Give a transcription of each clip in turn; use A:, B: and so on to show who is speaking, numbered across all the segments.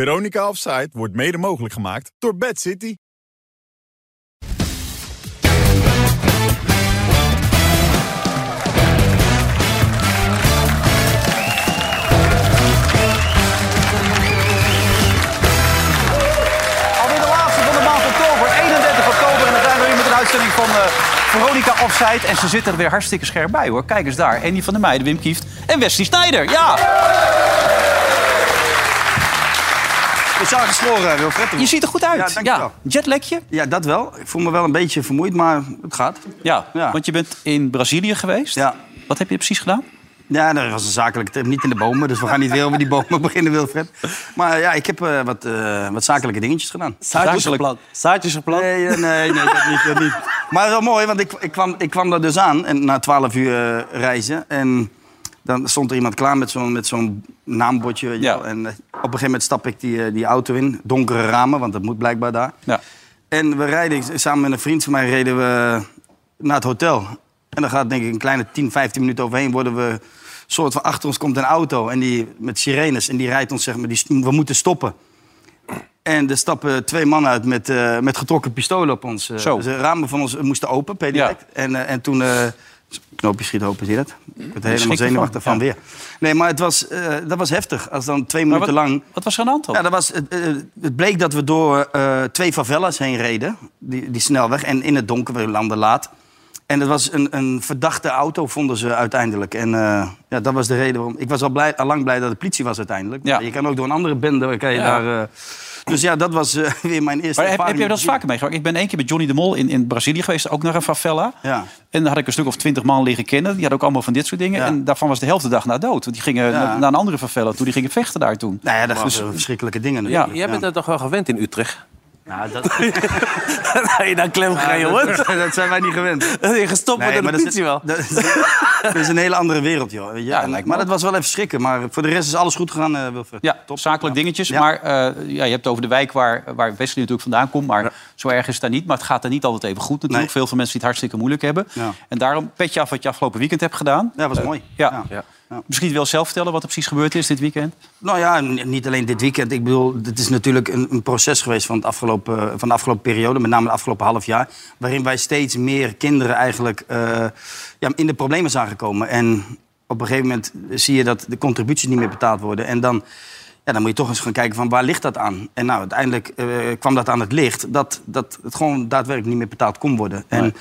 A: Veronica Offside wordt mede mogelijk gemaakt door Bad City.
B: Alweer de laatste van de maand oktober, 31 oktober. En dan zijn we weer met een uitzending van eh, Veronica Offside. En ze zitten er weer hartstikke scherp bij hoor. Kijk eens daar. Andy van der Meijden, Wim Kieft en Wesley Snijder. Ja!
C: Het is aangesloren, Wilfred.
B: Je ziet er goed
C: Ja,
B: uit.
C: dankjewel.
B: jetlagje.
C: Ja, dat wel. Ik voel me wel een beetje vermoeid, maar het gaat.
B: Ja,
C: Ja.
B: want je bent in Brazilië geweest.
C: Ja.
B: Wat heb je precies gedaan?
C: Ja, dat was een zakelijke trip. Niet in de bomen, dus we gaan niet weer over die bomen beginnen, Wilfred. Maar ja, ik heb eh, wat, eh, wat zakelijke dingetjes gedaan.
D: Zaadjes geplant. Zaadjes geplant.
C: Nee, eh, nee, nee, dat niet, dat niet. Maar wel mooi, want ik, ik, kwam, ik kwam daar dus aan en, na twaalf uur eh, reizen. En dan stond er iemand klaar met zo'n met zo'n naambordje. weet je
B: Ja.
C: wel. En eh, op een gegeven moment stap ik die, eh, die auto in. Donkere ramen, want dat moet blijkbaar daar.
B: Ja.
C: En we rijden, samen met een vriend van mij reden we naar het hotel. En dan gaat denk ik een kleine 10, 15 minuten overheen. Worden we soort van achter ons komt een auto en die, met sirenes. En die rijdt ons, zeg maar, die, st- we moeten stoppen. En er stappen twee mannen uit met, eh, met getrokken pistolen op ons. eh.
B: Zo.
C: Dus de ramen van ons moesten open, per direct. En, eh, en toen... eh knoopje schiet open, zie je dat? Ik word helemaal
B: schrik ervan,
C: zenuwachtig van
B: ja.
C: weer. Nee, maar het was, eh, dat was heftig. Als dan twee
B: Maar
C: minuten
B: wat,
C: lang...
B: wat was er aan de hand dan?
C: Ja, dat was, het, eh, het bleek dat we door eh, twee favelas heen reden, die, die snelweg. En in het donker, we landen laat. En dat was een, een verdachte auto, vonden ze uiteindelijk. En eh, ja, dat was de reden waarom... Ik was al blij, lang blij dat de politie was uiteindelijk.
B: Ja.
C: Maar Je kan ook door een andere bende... Kan je
B: Ja.
C: daar, eh, dus ja, dat was eh, weer mijn eerste
B: Maar heb, heb
C: ervaring.
B: je dat eens vaker meegemaakt? Ik ben één keer met Johnny de Mol in, in Brazilië geweest, ook naar een favela.
C: Ja.
B: En daar had ik een stuk of twintig man leren kennen. Die hadden ook allemaal van dit soort dingen.
C: Ja.
B: En daarvan was de helft de dag na dood. Want die gingen na- naar, een andere favela toe. Die gingen vechten daar toen.
C: Nou ja, dat was verschrikkelijke dingen natuurlijk.
D: Jij bent
C: Ja.
D: dat toch wel gewend in Utrecht?
C: Nou, dat, Nou,
D: Nee, dan klem gaan, jongen.
C: dat, dat zijn wij niet gewend.
D: Dan ben je gestopt
C: Nee,
D: wordt door
C: maar dat
D: de
C: is,
D: politie wel.
C: dat, is- dat is een hele andere wereld, joh. weet je.
B: Ja,
C: En-
B: lijkt me
C: maar
B: ook.
C: dat was wel even schrikken. Maar voor de rest is alles goed gegaan, eh, Wilfred.
B: Ja, zakelijk dingetjes.
C: Ja.
B: Maar eh, ja, je hebt het over de wijk waar, waar Wesley natuurlijk vandaan komt. Maar zo erg is het daar niet. Maar het gaat er niet altijd even goed natuurlijk.
C: Nee.
B: Veel van mensen die het hartstikke moeilijk hebben.
C: Ja.
B: En daarom petje af wat je afgelopen weekend hebt gedaan.
C: Ja, was mooi.
B: ja.
D: Ja.
B: Misschien wil je zelf vertellen wat er precies gebeurd is dit weekend.
C: Nou ja, n- niet alleen dit weekend. Ik bedoel, het is natuurlijk een, een proces geweest van, het afgelopen, eh, van de afgelopen periode, met name het afgelopen half jaar. Waarin wij steeds meer kinderen eigenlijk eh, ja, in de problemen zagen komen. En op een gegeven moment zie je dat de contributies niet meer betaald worden. En dan, ja, dan moet je toch eens gaan kijken van waar ligt dat aan? En nou, uiteindelijk eh, kwam dat aan het licht dat, dat het gewoon daadwerkelijk niet meer betaald kon worden. En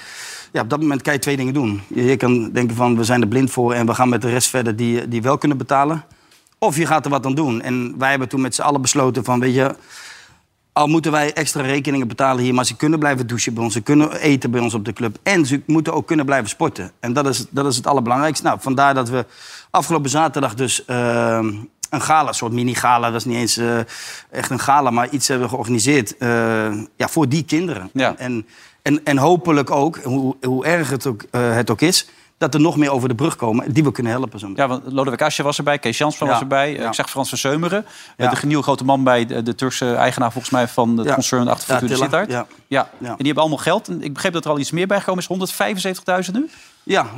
C: ja, op dat moment kan je twee dingen doen. Je, je kan denken van we zijn er blind voor en we gaan met de rest verder die, die wel kunnen betalen. Of je gaat er wat aan doen. En wij hebben toen met z'n allen besloten van, weet je... al moeten wij extra rekeningen betalen hier... maar ze kunnen blijven douchen bij ons, ze kunnen eten bij ons op de club... en ze moeten ook kunnen blijven sporten. En dat is, dat is het allerbelangrijkste. Nou, vandaar dat we afgelopen zaterdag dus... ehm, een gala, een soort mini-gala. Dat was niet eens eh, echt een gala, maar iets hebben we georganiseerd... eh, ja, voor die kinderen.
B: Ja.
C: En, en, en hopelijk ook, hoe, hoe erg het ook, eh, het ook is... dat er nog meer over de brug komen die we kunnen helpen. Zo meteen.
B: Ja, want Lodewijk Asscher was erbij, Kees Jansman
C: Ja,
B: was erbij. eh,
C: ja.
B: Ik zag Frans van Seumeren, eh,
C: Ja.
B: de nieuwe grote man bij de, de Turkse eigenaar volgens mij van het
C: Ja.
B: concern achter
C: Ja,
B: Fortuna
C: Tilla,
B: Sittard.
C: ja.
B: Ja.
C: Ja.
B: en die hebben allemaal geld. En ik begreep dat er al iets meer bij gekomen is, 175.000 nu.
C: Ja, 175.000.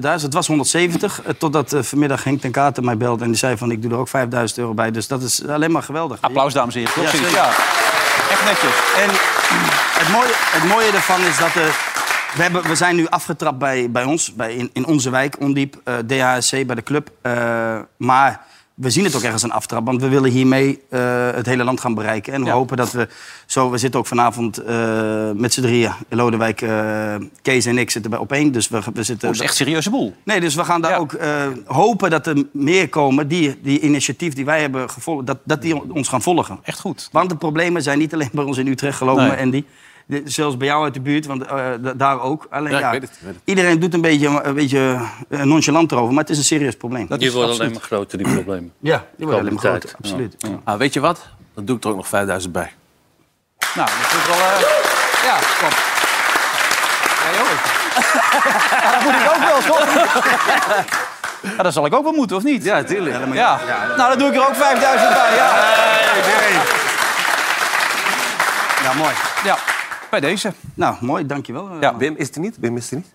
C: Het was 170. eh, Totdat eh, vanmiddag Henk ten Katen mij belde en die zei van... ik doe er ook 5.000 euro bij. Dus dat is alleen maar geweldig.
B: Applaus, dames en heren. Toch?
C: Ja,
B: Zoiets,
C: zeker.
B: ja. Echt netjes.
C: En het mooie, het mooie ervan is dat... eh, we, hebben, we zijn nu afgetrapt bij, bij ons, bij, in, in onze wijk, Ondiep, eh DHSC, bij de club. Eh, maar we zien het ook ergens een aftrap, want we willen hiermee eh, het hele land gaan bereiken. En we
B: Ja.
C: hopen dat we zo... We zitten ook vanavond eh, met z'n drieën. Lodewijk, eh, Kees en ik zitten bij op één. Dus we, we zitten...
B: Dat Oh, is echt een serieuze boel.
C: Nee, dus we gaan daar
B: Ja.
C: ook eh, hopen dat er meer komen. Die, die initiatief die wij hebben gevolgd, dat, dat die on- ons gaan volgen.
B: Echt goed.
C: Want de problemen zijn niet alleen bij ons in Utrecht gelopen,
B: Nee.
C: Andy. De- zelfs bij jou uit de buurt, want eh, da- daar ook. Alleen,
D: Ja,
C: ja,
D: ik weet het, ik weet het.
C: Iedereen doet een beetje, een beetje eh, nonchalant erover, maar het is een serieus probleem.
B: Dat
E: Die
B: is
E: worden alleen
B: absoluut-
E: maar groter, die problemen.
C: ja, die wordt alleen maar
E: Stabiliteit.
C: groter, absoluut. Ja.
D: Ah, weet je wat? Dan doe ik er ook nog 5000 bij.
B: Nou, dat is wel... eh, ja, kom. Ja, joh. Ja, dat moet ik ook wel, toch? Ja, dat zal ik ook wel moeten, of niet? Ja, tuurlijk. Ja. Nou, dan doe ik er ook 5000 bij, ja.
C: Ja, mooi.
B: ja. Bij deze.
C: Nou, mooi, dankjewel. eh,
B: Ja.
D: Wim is er niet. Wim is er niet.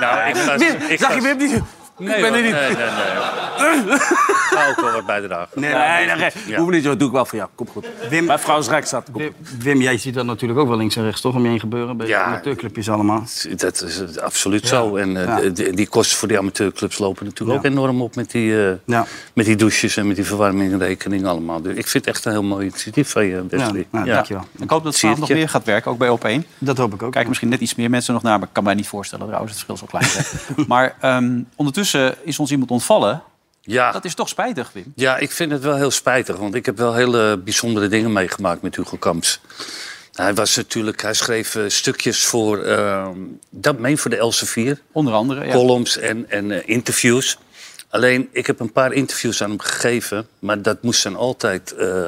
E: Nou, ik ga...
D: Wim, zag je Wim niet?
E: Nee,
D: ben er niet.
E: Nee, nee, nee. ga ook wel wat bijdragen.
C: Nee,
D: Nee, nee, nee.
E: Ja.
D: Hoef niet, joh. doe ik wel voor jou. Kom goed.
C: Wim-
D: Mijn vrouw is rijk zat. Kom.
C: Wim, jij ziet dat natuurlijk ook wel links en rechts, toch? Om je heen gebeuren bij
E: Ja.
C: de amateurclubjes allemaal.
E: Dat is absoluut zo. En eh,
C: Ja.
E: de- de- die kosten voor die amateurclubs lopen natuurlijk ook enorm op met die, eh,
C: Ja.
E: met die douches en met die verwarmingrekening allemaal. Dus ik vind het echt een heel mooi initiatief van je,
C: Ja,
E: Wesley.
C: nou, dankjewel.
B: Ik hoop dat het
E: Zie
B: vanavond
E: het
B: nog
E: je.
B: meer gaat werken, ook bij Op1.
C: Dat hoop ik ook.
B: Kijken misschien net iets meer mensen nog naar, maar ik kan mij niet voorstellen trouwens, het verschil zo klein zijn. maar ehm, ondertussen is ons iemand ontvallen.
E: Ja.
B: Dat is toch spijtig, Wim.
E: Ja, ik vind het wel heel spijtig, want ik heb wel hele bijzondere dingen meegemaakt met Hugo Kamps. Hij was natuurlijk, hij schreef eh, stukjes voor, ehm dat meen voor de Elsevier,
B: Onder andere. Ja.
E: columns en, en eh, interviews. Alleen, ik heb een paar interviews aan hem gegeven, maar dat moest dan altijd, eh,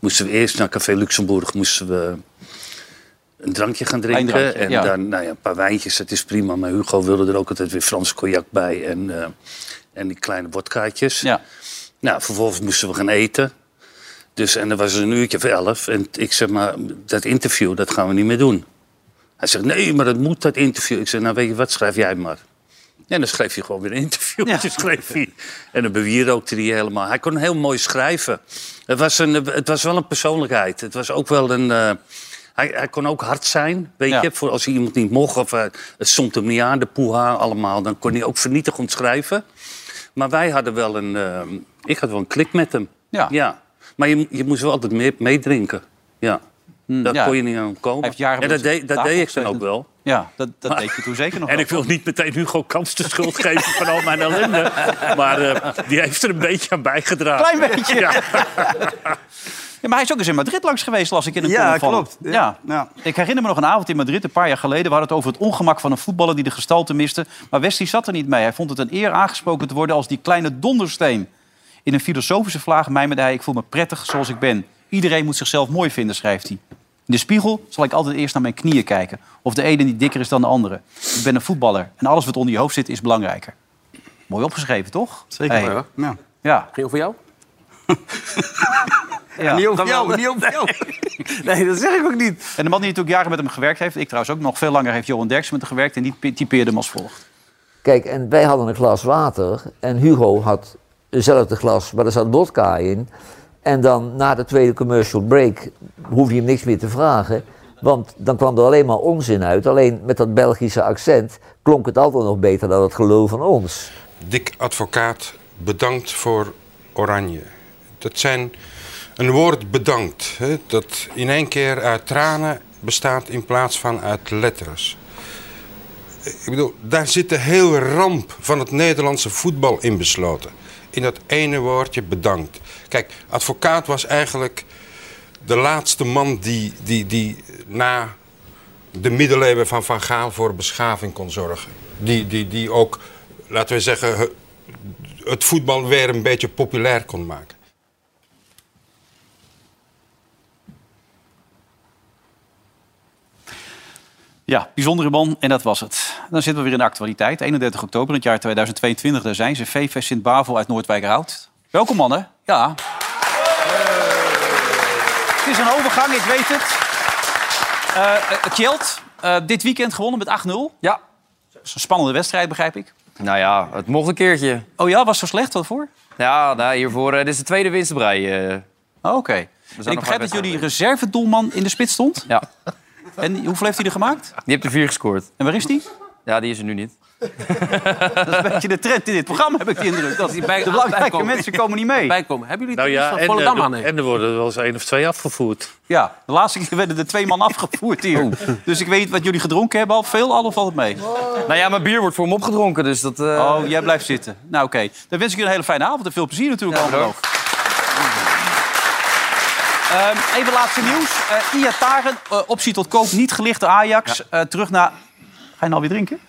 E: moesten we eerst naar Café Luxemburg, moesten we een drankje gaan drinken.
B: Wijndrankje,
E: en
B: ja.
E: dan nou ja, een paar wijntjes, dat is prima, maar Hugo wilde er ook altijd weer Frans cognac bij en, eh, en die kleine wodkaatjes.
B: Ja.
E: Nou, vervolgens moesten we gaan eten. Dus, en dan was het een uurtje voor elf. En ik zeg maar, dat interview, dat gaan we niet meer doen. Hij zegt, nee, maar dat moet, dat interview. Ik zeg, nou weet je wat, schrijf jij maar. En dan schreef hij gewoon weer een interview.
B: Ja.
E: Schreef hij. En dan bewierookte hij helemaal. Hij kon heel mooi schrijven. Het was, een, het was wel een persoonlijkheid. Het was ook wel een... eh, hij, hij kon ook hard zijn, weet
B: Ja.
E: je. Voor als hij iemand niet mocht of eh, het stond hem niet aan, de poeha allemaal. Dan kon hij ook vernietigend schrijven. Maar wij hadden wel een... eh, ik had wel een klik met hem.
B: Ja.
E: Maar je, je moest wel altijd mee- meedrinken. Ja. Daar
B: Hmm, ja.
E: kon je niet aan
B: Hij
E: komen.
B: heeft jaren
E: En dat
B: bij ons
E: deed, dat
B: tafel
E: deed ik dan
B: gezeten. Oh.
E: ook wel.
B: Ja, dat, dat
E: Maar-
B: deed je toen zeker nog
E: En
B: wel.
E: ik wil niet meteen Hugo Kamps de schuld geven van al mijn ellende. Maar eh, die heeft er een beetje aan bijgedragen.
B: Klein beetje.
E: Ja.
B: Ja, maar hij is ook eens in Madrid langs geweest, las ik in een
C: Ja,
B: column van hem.
C: klopt. Ja.
B: Ja.
C: Ja.
B: Ik herinner me nog een avond in Madrid, een paar jaar geleden... we hadden het over het ongemak van een voetballer die de gestalte miste. Maar Wesley zat er niet mee. Hij vond het een eer aangesproken te worden als die kleine dondersteen. In een filosofische vlaag mijmerde hij... ik voel me prettig zoals ik ben. Iedereen moet zichzelf mooi vinden, schrijft hij. In de spiegel zal ik altijd eerst naar mijn knieën kijken. Of de ene niet dikker is dan de andere. Ik ben een voetballer en alles wat onder je hoofd zit is belangrijker. Mooi opgeschreven, toch?
C: Zeker.
B: Hey.
C: Ja. Ja.
B: Ja.
D: Ging over jou?
B: ja.
C: Niet over jou, niet over jou.
D: Nee, dat zeg ik ook niet.
B: En de man die natuurlijk jaren met hem gewerkt heeft, ik trouwens ook nog veel langer, heeft Johan Derksen met hem gewerkt. En die pi- typeerde hem als volgt.
F: Kijk, en wij hadden een glas water en Hugo had hetzelfde glas, maar er zat vodka in. En dan na de tweede commercial break hoefde je hem niks meer te vragen. Want dan kwam er alleen maar onzin uit. Alleen met dat Belgische accent klonk het altijd nog beter dan het geloof van ons.
G: Dick Advocaat, bedankt voor Oranje. Dat zijn een woord bedankt, hè, dat in één keer uit tranen bestaat in plaats van uit letters. Ik bedoel, daar zit de hele ramp van het Nederlandse voetbal in besloten. In dat ene woordje bedankt. Kijk, advocaat was eigenlijk de laatste man die, die, die na de middeleeuwen van Van Gaal voor beschaving kon zorgen. Die, die, die ook, laten we zeggen, he- het voetbal weer een beetje populair kon maken.
B: Ja, bijzondere man en dat was het. Dan zitten we weer in de actualiteit. 31 oktober in het jaar 2022, daar zijn ze. VV Sint-Bavel uit Noordwijkerhout. Welkom mannen. Ja. Het is een overgang, ik weet het. Eh eh, Kjeld, eh, dit weekend gewonnen met 8-0.
H: Ja.
B: Dat is een spannende wedstrijd, begrijp ik.
H: Nou ja, het mocht een keertje.
B: Oh ja, was zo slecht, wat voor?
H: Ja, nou, hiervoor eh, dit is de tweede winstbrei. eh
B: Oh, Oké. En
H: nog
B: ik
H: maar
B: begrijp dat
H: wedstrijden.
B: jullie reservedoelman in de spits stond.
H: ja,
B: En hoeveel heeft hij er gemaakt?
H: die hebt er vier gescoord.
B: En waar is die?
H: Ja, die is er nu niet.
B: Een beetje de trend in dit programma, heb ik de indruk. Dat
D: Die bij-
B: de belangrijke
D: bijkomen.
B: mensen komen niet mee.
D: Bijkomen. Hebben jullie
E: Nou
D: het
E: ja,
D: van
E: en,
D: Volendam
E: eh,
D: aan?
E: en er worden er wel eens één of twee afgevoerd.
B: Ja, de laatste keer werden er twee man afgevoerd hier. Dus ik weet niet wat jullie gedronken hebben. Al veel, al of valt het mee?
H: Nou ja, mijn bier wordt voor hem opgedronken, dus dat... eh,
B: Oh, jij blijft zitten. Nou, oké. Dan wens ik jullie een hele fijne avond en veel plezier natuurlijk allemaal.
H: bedankt.
B: Ehm, even laatste nieuws. Eh Iataren, eh, optie tot koop, niet gelichte Ajax. Eh, terug naar... Ga je nou weer drinken?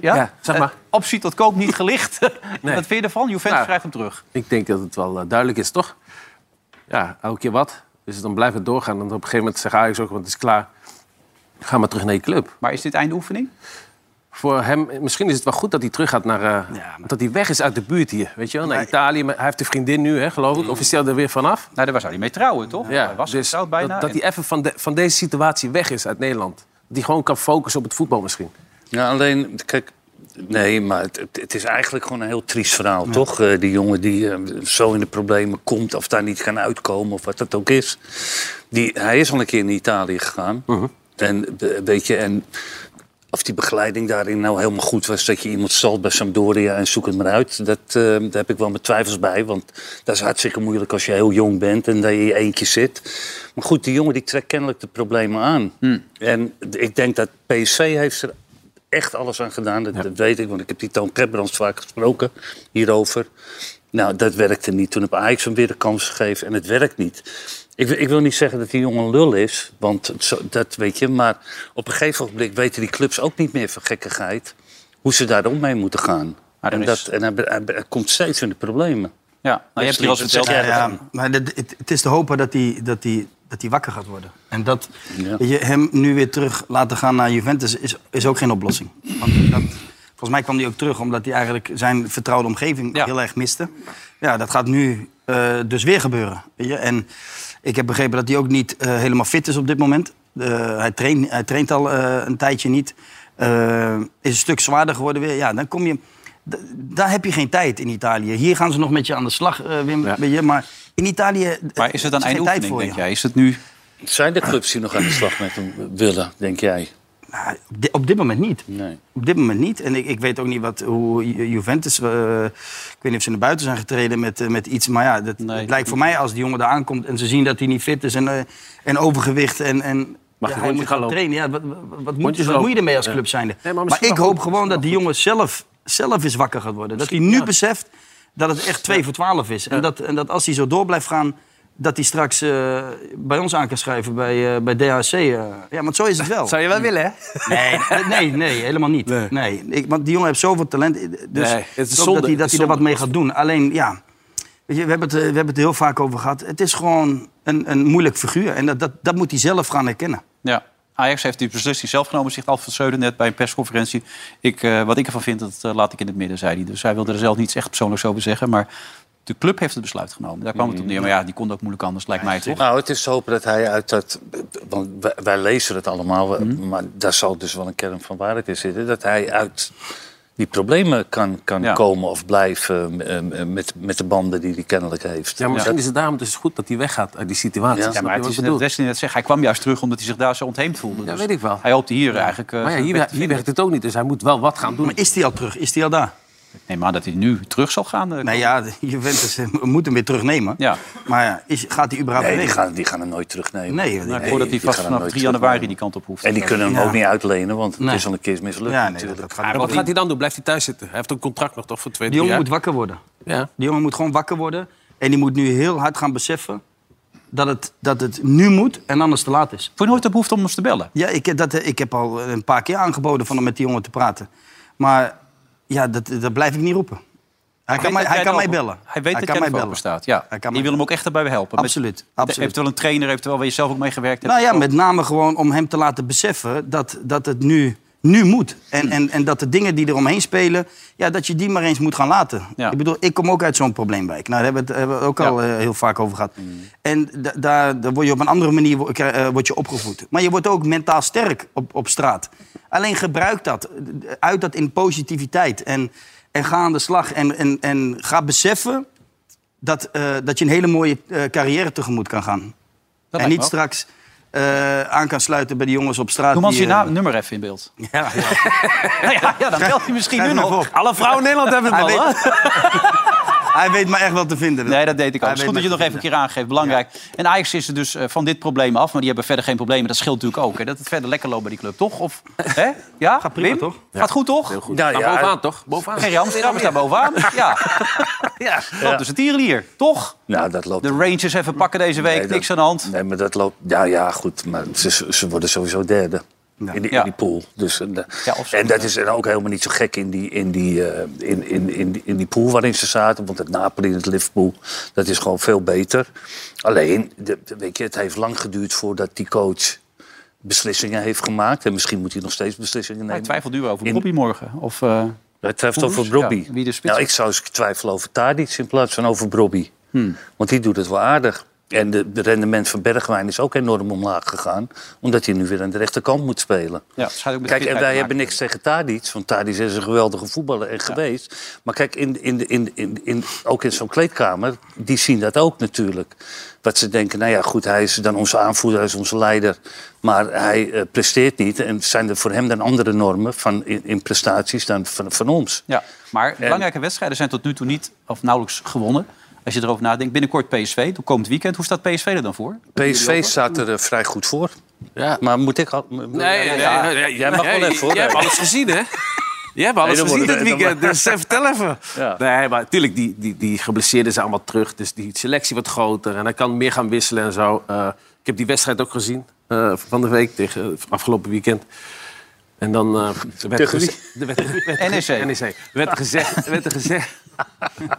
B: Ja?
D: Ja, zeg maar.
B: Eh, optie tot koop, niet gelicht. Wat vind je ervan? Juventus
D: Nou.
B: krijgt hem terug.
D: Ik denk dat het wel eh, duidelijk is, toch? Ja, elke keer wat. Dus dan blijft het doorgaan. En op een gegeven moment zegt Ajax ook, want het is klaar. Ga maar terug naar je club.
B: Maar is dit eindoefening?
D: Voor hem, eh, misschien is het wel goed dat hij terug gaat naar... eh, Dat hij weg is uit de buurt hier, weet je wel? Naar Italië. Maar Hij heeft een vriendin nu, hè, geloof ik. Officieel er weer vanaf.
B: Nou, daar zou hij mee trouwen, toch? hij was
D: dus
B: getrouwd bijna.
D: Dat, dat hij even van, de- van deze situatie weg is uit Nederland. Dat hij gewoon kan focussen op het voetbal misschien.
E: Ja, alleen, kijk, Nee, maar het, het- het is eigenlijk gewoon een heel triest verhaal, toch? Eh, die jongen die eh, zo in de problemen komt of daar niet kan uitkomen of wat dat ook is. Die, hij is al een keer in Italië gegaan. En eh, weet je, en of die begeleiding daarin nou helemaal goed was... dat je iemand stalt bij Sampdoria en zoek het maar uit... Dat, eh, daar heb ik wel mijn twijfels bij. Want dat is hartstikke moeilijk als je heel jong bent... en dat je in je eentje zit. Maar goed, die jongen die trekt kennelijk de problemen aan. En ik denk dat PSV heeft er echt alles aan gedaan. Dat, dat weet ik, want ik heb die Toon Gerbrands vaak gesproken hierover. Nou, dat werkte niet. Toen heb Ajax hem weer de kans gegeven en het werkt niet. Ik, wil- ik wil niet zeggen dat die jongen een lul is, want het zo- dat weet je. Maar op een gegeven moment weten die clubs ook niet meer van gekkigheid... hoe ze daar om mee moeten gaan.
B: Maar dan
E: en
B: is-
E: dat, en hij, be- hij be- hij komt steeds in de problemen.
B: Ja, nou, je hebt hier al eens
E: het
B: verteld.
E: zeggen.
C: Ja, maar dat- het, het is te hopen dat hij dat die, dat die wakker gaat worden. En dat
E: Ja.
C: weet je, hem nu weer terug laten gaan naar Juventus is, is ook geen oplossing. Want dat, volgens mij kwam hij ook terug omdat hij eigenlijk zijn vertrouwde omgeving
B: Ja.
C: heel erg miste. Ja, dat gaat nu eh, dus weer gebeuren. Weet je? En ik heb begrepen dat hij ook niet eh, helemaal fit is op dit moment. Eh, hij, traint, hij traint al eh, een tijdje niet. Eh, is een stuk zwaarder geworden weer. Ja, dan kom je... d- Daar heb je geen tijd in Italië. Hier gaan ze nog met je aan de slag, eh, Wim.
D: Ja.
C: Weet je, maar in Italië.
B: Maar is het een
C: geen tijd
B: eindoefening,
C: voor
B: denk
C: je.
B: jij? Is het nu...
E: Zijn de clubs die nog aan de slag met hem willen, denk jij?
C: Nou, op, di- op dit moment niet.
E: Nee.
C: Op dit moment niet. En ik, ik weet ook niet wat, hoe Ju- Juventus. eh, ik weet niet of ze naar buiten zijn getreden met, eh, met iets. Maar ja, dat,
B: Nee.
C: het lijkt voor mij als die jongen daar aankomt en ze zien dat hij niet fit is en, eh, en overgewicht. En, en,
D: Mag
C: ja, hij moet
D: je rondje gaan
C: gaan
D: lopen?
C: trainen. Ja, wat, wat, wat, moet,
D: Rondjes
C: wat moet je
D: lopen.
C: ermee als
D: Ja.
C: club zijnde?
D: maar
C: maar
D: misschien
C: ik
D: wel
C: hoop
D: goed.
C: gewoon dat die jongen zelf, zelf eens wakker gaat worden. Dat hij nu beseft dat het echt 2 voor 12 is. En, dat, en dat als hij zo door blijft gaan. Dat hij straks eh, bij ons aan kan schrijven, bij, eh, bij DHC. eh. Ja, want zo is het wel.
H: Zou je wel willen, hè?
C: Nee, nee, nee, helemaal niet. Nee. Ik, want die jongen heeft zoveel talent. Dus
D: Nee,
C: ik
D: het is
C: hoop
D: zonde,
C: dat hij, dat
D: het is
C: hij er wat
D: zonde.
C: mee gaat doen. Alleen, ja, weet je, we, hebben het, eh, we hebben het er heel vaak over gehad. Het is gewoon een, een moeilijk figuur. En dat, dat, dat moet hij zelf gaan herkennen.
B: Ja. Ajax heeft die beslissing zelf genomen, zegt Alfred Seuden net bij een persconferentie. Ik, eh, wat ik ervan vind, dat eh, laat ik in het midden, zei hij. Dus hij wilde er zelf niets echt persoonlijks over zeggen. Maar de club heeft het besluit genomen. Daar kwam het op neer. Maar ja, die kon het ook moeilijk anders, lijkt mij toch?
E: Nou, het is te hopen dat hij uit dat... Want wij, wij lezen het allemaal, we- maar daar zal dus wel een kern van waarheid in zitten. Dat hij uit die problemen kan, kan
B: Ja.
E: komen of blijven eh, eh, met, met de banden die hij kennelijk heeft.
D: Ja, maar misschien
E: Dat-
D: is het daarom dus goed dat hij weggaat uit die situatie.
E: Ja.
D: Snap
E: Ja,
D: je
B: maar
D: wat
B: het is
D: ik
B: net,
D: bedoel?
B: Wesley net zegt, hij kwam juist terug omdat hij zich daar zo ontheemd voelde.
D: Ja,
B: Dus
D: weet ik wel.
B: Hij hoopte hier eigenlijk... eh,
D: Maar ja,
B: zijn
D: hier,
B: weg te
D: hier
B: vinden.
D: werkt het ook niet, dus hij moet wel wat gaan doen.
C: Maar is hij al terug? Is hij al daar?
B: Nee, maar dat hij nu terug zal gaan. eh,
C: Nou ja, de Juventus eh, moet hem weer terugnemen.
B: Ja.
C: Maar ja, is, gaat hij überhaupt
E: Nee, die
C: weg?
E: gaan, die gaan hem nooit terugnemen.
C: Nee, joh, die-
B: Nou, ik hoor dat hij
E: die
B: vast
E: gaan
B: vanaf
E: nooit
B: 3 januari die
E: terugnemen.
B: kant op hoeft.
E: En die kunnen hem
C: Ja.
E: ook niet uitlenen, want het
C: Nee.
E: is al een keer mislukt
C: Ja, nee, dat,
E: natuurlijk.
C: dat gaat
D: wat gaat hij dan doen? Blijft hij thuis zitten? Hij heeft een contract nog toch voor twee,
C: Die
D: drie
C: jongen
D: jaar?
C: moet wakker worden.
D: Ja.
C: Die jongen moet gewoon wakker worden. En die moet nu heel hard gaan beseffen dat het, dat het nu moet en anders te laat is.
B: Voor nooit de behoefte om ons te bellen.
C: Ja, ik, heb dat, eh, ik heb al een paar keer aangeboden van om met die jongen te praten. Maar ja, dat, dat blijf ik niet roepen. Hij kan, mij,
B: weet dat
C: hij
B: jij
C: kan mij
B: erover-
C: bellen.
B: Hij
C: hij
B: weet dat
C: kan
B: jij
C: mij
B: ervoor
C: bellen.
B: open staat. Ja.
C: Hij kan
B: Je
C: mij
B: wil hem ook echt erbij helpen. Met-
C: Absoluut,
B: Heeft
C: absoluut.
B: Eventueel een trainer, eventueel waar je zelf ook mee gewerkt hebt.
C: Nou ja, met name gewoon om hem te laten beseffen dat, dat het nu, nu moet. En, en, en dat de dingen die er omheen spelen, ja, dat je die maar eens moet gaan laten.
B: Ja.
C: Ik bedoel, ik kom ook uit zo'n probleemwijk. Nou, daar hebben we het, hebben we het ook al eh, heel vaak over gehad.
B: Mm.
C: En da- daar, daar word je op een andere manier wo- kri- eh, word je opgevoed. Maar je wordt ook mentaal sterk op, op straat. Alleen gebruik dat. eh, Uit dat in positiviteit. En, en ga aan de slag. En, en, en ga beseffen dat, eh, dat je een hele mooie eh, carrière tegemoet kan gaan.
B: Dat
C: en
B: lijkt
C: niet
B: me ook.
C: straks eh, aan kan sluiten bij de jongens op straat.
B: Noem ons
C: die,
B: je
C: eh,
B: naam, nummer even in beeld.
C: Ja, ja.
B: Nou ja, ja, dan belt hij misschien nu
C: schrijf hem
B: nog.
C: even
B: Alle vrouwen in Nederland hebben
C: Hij
B: het al. hè?
C: Hij weet me echt wel te vinden.
B: Nee, dat deed ik ook.
C: Hij
B: Het is
C: weet
B: goed dat je
C: me
B: nog even een keer aangeeft. Belangrijk. En Ajax is er dus eh, van dit probleem af. Maar die hebben verder geen problemen. Dat scheelt natuurlijk ook. Hè? Dat het verder lekker loopt bij die club, toch? Of, hè? Ja? Gaat
C: prima, toch?
B: Gaat goed, toch?
D: Heel goed.
E: Nou
D: Maar
E: ja,
D: bovenaan toch? Bovenaan.
B: Geen Amsterdam is daar bovenaan. Ja. ja. Loopt dus het hier, toch?
E: Nou, dat loopt
B: De Rangers even pakken deze week.
E: Nee, dat-
B: Niks aan de hand.
E: Nee, maar dat loopt... Ja, ja, goed. Maar ze, ze worden sowieso derde. In, die,
B: Ja.
E: in die pool. Dus, en, eh,
B: Ja, of zo,
E: en dat
B: ja.
E: is dan ook helemaal niet zo gek in die, in, die, eh, in, in, in, die- in die pool waarin ze zaten. Want het Napoli en het Liverpool, dat is gewoon veel beter. Alleen, de, de- weet je, het heeft lang geduurd voordat die coach beslissingen heeft gemaakt. En misschien moet hij nog steeds beslissingen
B: Maar
E: nemen.
B: ik twijfel nu over
E: In-
B: Bobby morgen. Of, eh,
E: Het heeft
B: Koeroes?
E: over Brobby.
B: Ja, wie de spits
E: nou,
B: is. Hmm.
E: ik zou eens twijfelen over Tadic in plaats van over Brobby. Want die doet het wel aardig. En de, de rendement van Bergwijn is ook enorm omlaag gegaan. Omdat hij nu weer aan de rechterkant moet spelen.
B: Ja, het schijnt ook met
E: Kijk, en
B: fitheid
E: wij
B: te
E: hebben
B: maken.
E: niks tegen Tadic. Want Tadic is een geweldige voetballer en geweest. Maar kijk, in, in, in, in, in, ook in zo'n kleedkamer, die zien dat ook natuurlijk. Dat ze denken, nou ja, goed, hij is dan onze aanvoerder, hij is onze leider. Maar hij eh, presteert niet. En zijn er voor hem dan andere normen van, in, in prestaties dan van, van ons?
B: Ja, maar belangrijke wedstrijden zijn tot nu toe niet of nauwelijks gewonnen. Als je erover nadenkt, binnenkort PSV, toen komt het weekend. Hoe staat PSV er dan voor?
E: PSV staat er eh, vrij goed voor.
D: Ja.
E: Maar moet ik... al-
D: Nee, nee, nee, nee,
E: Jij mag wel
D: jij-
E: even, hoor.
D: Jij hebt alles gezien, hè? Jij hebt alles
E: Nee, dan
D: gezien dit
E: worden we-
D: weekend, dus eh, vertel even.
E: Ja.
D: Nee, maar natuurlijk, die, die, die geblesseerden zijn allemaal terug. Dus die selectie wordt groter en hij kan meer gaan wisselen en zo. Eh, ik heb die wedstrijd ook gezien eh, van de week, tegen, eh, afgelopen weekend. En dan eh, werd,
E: Tegen wie?
D: geze- er werd, werd,
B: NEC.
D: NEC. Er werd gezegd, er werd er gezegd,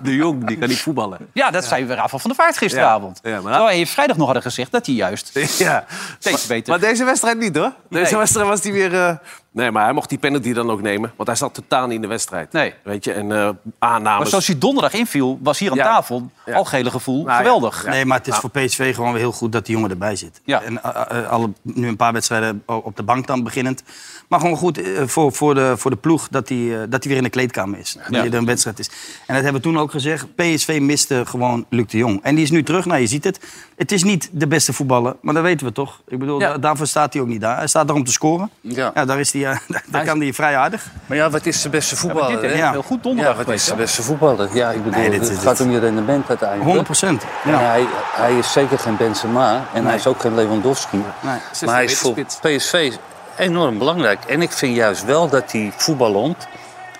D: de jong die kan niet voetballen.
B: Ja, dat zei Rafa van der Vaart gisteravond.
D: Ja, ja, maar dat-
B: Terwijl je vrijdag nog hadden gezegd dat hij juist...
D: Ja,
B: Steeds
D: maar,
B: beter.
D: Maar deze wedstrijd niet, hoor. Deze
B: Nee.
D: wedstrijd was hij weer... eh, Nee, maar hij mocht die penalty dan ook nemen. Want hij zat totaal niet in de wedstrijd.
B: Nee.
D: Weet je, en eh, aannames...
B: Maar zoals hij donderdag inviel, was hier aan
D: Ja.
B: tafel
D: Ja.
B: al gele gevoel.
D: Nou ja.
B: Geweldig.
C: Nee, maar het is voor PSV gewoon weer heel goed dat die jongen erbij zit.
B: Ja.
C: En eh, eh, alle, nu een paar wedstrijden o- op de bank dan beginnend. Maar gewoon goed eh, voor, voor, de, voor de ploeg dat hij dat die weer in de kleedkamer is. Dat
B: Ja.
C: hij er een wedstrijd is. En dat hebben we toen ook gezegd. PSV miste gewoon Luc de Jong. En die is nu terug. Nou, je ziet het. Het is niet de beste voetballer, maar dat weten we toch. Ik bedoel,
D: Ja.
C: da- daarvoor staat hij ook niet daar. Hij staat daar om te scoren.
E: Ja.
C: daar, is die, eh, daar kan hij vrij aardig.
E: Maar ja, wat is de beste
B: Maar
E: voetballer?
B: dit is
E: hè?
C: Ja.
B: heel goed
E: Ja,
B: donderdag
E: wat
B: geweest.
E: is de
B: hè?
E: beste voetballer? Ja, ik bedoel,
C: Nee, dit is
E: het
C: het.
E: gaat om je rendement uiteindelijk.
C: 100 procent.
E: En hij, hij is zeker geen Benzema en hij is ook geen Lewandowski. Maar hij is voor PSV enorm belangrijk. En ik vind juist wel dat die voetballond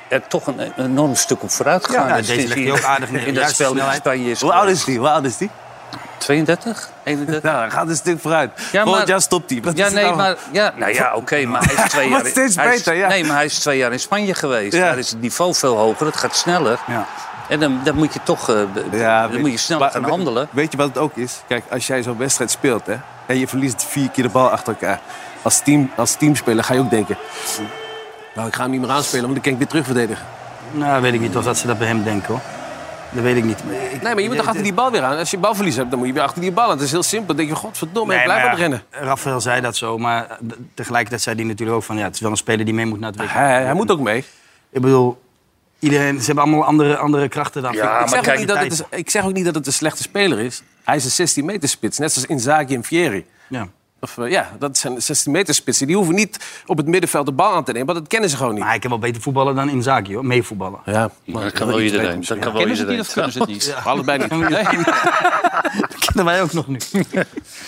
E: er toch een enorm stuk op vooruit
C: Ja,
E: gegaan
C: nou,
E: is.
C: deze
E: sinds
C: legt hij
E: hij
C: ook aardig neer.
E: In dat
C: Juiste
E: spel in
C: snelheid.
E: Spanje is. eh,
D: Hoe oud is die? Hoe oud is die?
E: 32? 31?
D: Nou, hij gaat een stuk vooruit. Volgend jaar stopt hij. Wat
E: Ja,
D: is het
E: nee,
D: nou?
E: maar... Ja, nou ja, oké, maar hij is twee jaar...
D: Wordt steeds
E: hij is-
D: beter, ja.
E: Nee, maar hij is twee jaar in Spanje geweest.
D: Ja.
E: Daar is het niveau veel hoger, het gaat sneller.
C: Ja.
E: En dan, dan moet je toch... eh, be-
D: Ja,
E: dan
D: weet-
E: moet je snel
D: maar-
E: gaan
D: we-
E: handelen.
D: Weet je wat het ook is? Kijk, als jij zo'n wedstrijd speelt hè, en je verliest vier keer de bal achter elkaar. Als, team, als teamspeler ga je ook denken... Nou, ik ga hem niet meer aanspelen, want dan kan ik weer terugverdedigen.
C: Nou, weet ik niet of dat ze dat bij hem denken hoor. Dat weet ik niet. Ik-
D: Nee, maar je moet toch achter die bal weer aan. Als je balverlies hebt, dan moet je weer achter die bal aan. Het is heel simpel. Dan denk je, godverdomme, ik
C: Nee,
D: blijf
C: maar
D: aan het rennen.
C: ja, Rafael zei dat zo, maar d- tegelijkertijd zei hij natuurlijk ook van... ja, het is wel een speler die mee moet naar het WK.
D: Hij, hij moet ook mee.
C: Ik bedoel, iedereen, ze hebben allemaal andere, andere krachten dan...
E: Ja,
D: ik, zeg
E: maar
D: ook
E: kijk,
D: niet dat het, een- ik zeg ook niet dat het een slechte speler is. Hij is een 16 meter spits, net zoals Inzaghi en Fieri.
C: Ja.
D: Of, eh, ja, dat zijn 16 meter spitsen. Die hoeven niet op het middenveld de bal aan te nemen, want dat kennen ze gewoon niet.
C: Maar ik heb wel beter voetballen dan Inzaghi, hoor. Meevoetballen.
D: Ja,
E: Maar dat kan wel iedereen. Dat kan wel
B: Kennen ze het niet
E: iedereen.
B: of kunnen ze het niet?
D: Allebei niet.
B: Nee.
C: Dat kennen wij ook nog nu.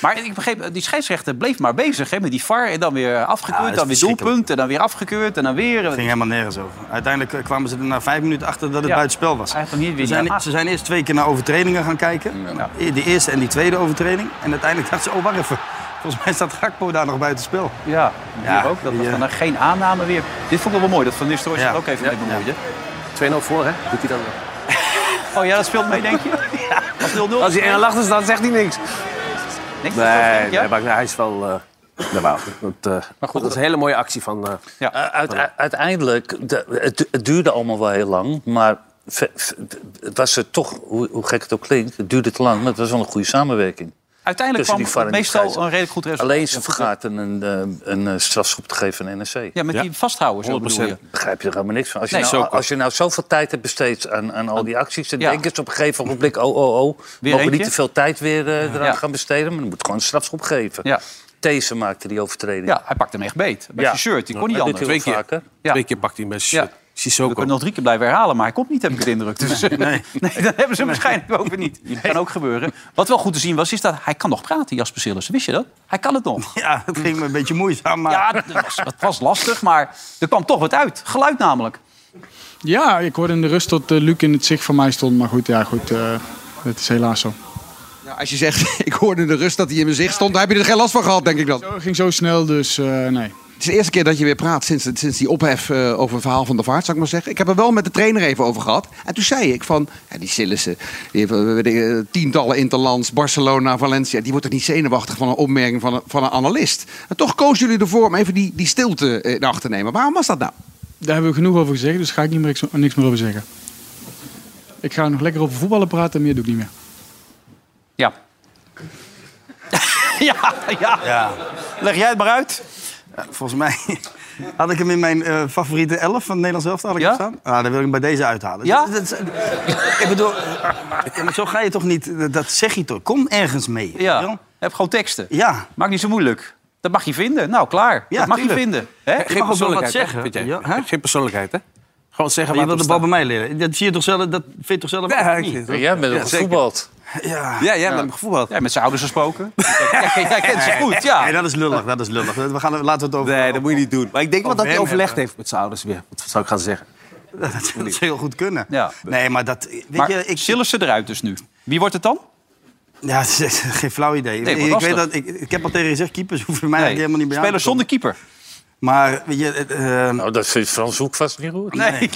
B: Maar ik begreep, eh, die scheidsrechter bleef maar bezig hè, met die VAR. En dan weer
C: Ja,
B: afgekeurd,
C: dat is
B: dan weer
C: verschrikkelijk.
B: doelpunt. En dan weer afgekeurd, en dan weer... eh,
C: Het ging helemaal nergens over. Uiteindelijk eh, kwamen ze er na vijf minuten achter dat het
B: Ja.
C: buitenspel was.
B: Hij heeft hem niet Ah. weer
C: Ze zijn,
B: niet aan-
C: ze zijn eerst twee keer naar overtredingen gaan kijken. E-, De eerste en die tweede overtreding. En uiteindelijk dachten ze, oh, wacht even. Volgens mij staat Gakpo daar nog buitenspel.
B: Ja, hier
C: Ja,
B: ook. Dat was
C: ja.
B: dan geen aanname weer. Dit vond ik wel mooi, dat Van Nistelrooy zich
C: Ja.
B: er ook even mee bemoeide.
D: 2-0 voor, hè? Doet hij dan
B: Oh ja, dat speelt mee, denk je? Als 0-0.
D: Als hij en lacht, dan staat, zegt hij niks.
B: Denk je dat zo,
D: Nee,
B: denk je?
D: nee, maar hij is wel... eh normaal. Dat, eh, dat is een hele mooie actie van... eh,
E: U- uite- uiteindelijk, de- het, het duurde allemaal wel heel lang, maar ve- ve- het was er toch, hoe, hoe gek het ook klinkt, het duurde te lang, maar het was wel een goede samenwerking.
B: Uiteindelijk
E: tussen
B: kwam
E: die VAR en die
B: meestal een
E: scheidsrechter.
B: redelijk goed resultaat.
E: Alleen ze vergaten een, eh, een eh, strafschop te geven aan NEC.
B: Ja, met die vasthouden, zo bedoel je.
E: Begrijp je er helemaal niks van. Als je,
B: Nee,
E: nou,
B: zo kan.
E: als je nou zoveel tijd hebt besteed aan, aan al die acties... dan
B: Ja.
E: denken ze op een gegeven moment, oh, oh, oh... mogen we
B: eentje?
E: niet te veel tijd weer eh, eraan
B: Ja.
E: gaan besteden... maar dan moet gewoon een strafschop geven.
B: Ja.
E: These maakte die overtreding.
B: Ja, hij pakte hem echt beet. Met
E: Ja.
B: zijn shirt, die kon niet
E: Dat
B: anders.
E: doet hij wel
D: Twee keer.
E: vaker.
B: Ja.
D: Twee keer pakt hij met
B: Ja. We
D: Sissoko.
B: kunnen nog drie keer blijven herhalen, maar hij komt niet, heb ik de indruk. Dus, nee. nee, dat hebben ze hem waarschijnlijk ook weer niet. Kan ook gebeuren. Wat wel goed te zien was, is dat hij kan nog praten, Jasper Sillissen. Wist je dat? Hij kan het nog.
C: Ja, het ging me een beetje moeizaam, maar...
B: Ja, dat was, dat was lastig, maar er kwam toch wat uit. Geluid namelijk.
I: Ja, ik hoorde in de rust dat eh, Luc in het zicht van mij stond. Maar goed, ja, goed. eh dat is helaas zo.
J: Ja, als je zegt, ik hoorde in de rust dat hij in mijn zicht stond, daar heb je er geen last van gehad, denk ik dan.
I: Zo, Het ging zo snel, dus eh, nee.
J: Het is de eerste keer dat je weer praat sinds, sinds die ophef eh, over het verhaal van de vaart, zou ik maar zeggen. Ik heb er wel met de trainer even over gehad. En toen zei ik van, ja, die Sillissen, die heeft eh, weet ik, eh, tientallen interlands, Barcelona, Valencia. Die wordt toch niet zenuwachtig van een opmerking van een, van een analist. En toch kozen jullie ervoor om even die, die stilte eh, in acht te nemen. Waarom was dat nou?
I: Daar hebben we genoeg over gezegd, dus ga ik niet meer, niks- niks meer over zeggen. Ik ga nog lekker over voetballen praten, meer doe ik niet meer.
B: Ja. ja, ja.
C: Ja.
B: Leg jij het maar uit.
C: Volgens mij had ik hem in mijn eh, favoriete elf van het Nederlands elftal had ik
B: Ja?
C: hem staan. Ah, daar wil ik hem bij deze uithalen.
B: Ja?
C: Dat, dat- ik bedoel, ja, maar zo ga je toch niet... eh, dat- Dat zeg je toch? Kom ergens mee. weet je
B: Ja.
C: wel?
B: Heb gewoon teksten.
C: Ja.
B: Maak niet zo moeilijk. Dat mag je vinden. Nou, klaar.
C: Ja,
B: dat mag je
C: tuurlijk.
B: vinden. Hè?
D: Geen
C: mag ook wel wat
D: persoonlijkheid, hè,
C: zeggen.
D: vind jij?
C: Ja, hè?
D: Geen persoonlijkheid, hè? Gewoon zeggen
C: Maar je
D: waar
C: wilt de
D: het
C: bal bij
D: op
C: mij leren. Dat zie je toch zelf, dat vind je toch zelf
D: staat.
C: ook
D: Ja,
C: niet?
D: ik-
E: Jij bent ook
D: zeker.
E: gevoetbald.
C: Ja.
D: Ja, jij bent hem gevoel gehad.
B: Ja, met zijn ouders gesproken. Jij kent- jij kent ze goed, ja.
C: Nee, dat is lullig, dat is lullig. We gaan, laten we het over...
D: Nee, dat moet je niet doen. Maar ik denk wel dat hij
C: hem
D: overlegd heeft met zijn ouders weer. Wat zou ik gaan zeggen?
C: Dat zou heel goed kunnen.
B: Ja.
C: Nee, maar dat... Weet
B: Maar
C: je, ik,
B: Sillissen eruit dus nu. Wie wordt het dan?
C: ja, het is geen flauw idee.
B: Nee, maar
C: ik,
B: lastig.
C: weet dat, ik, ik heb al tegen je gezegd, keepers hoeven mij eigenlijk helemaal niet bij aan
B: Speler
C: te komen.
B: zonder keeper.
C: Maar weet je, het, eh,
E: Nou, dat vindt Frans Hoek vast niet goed.
B: Nee.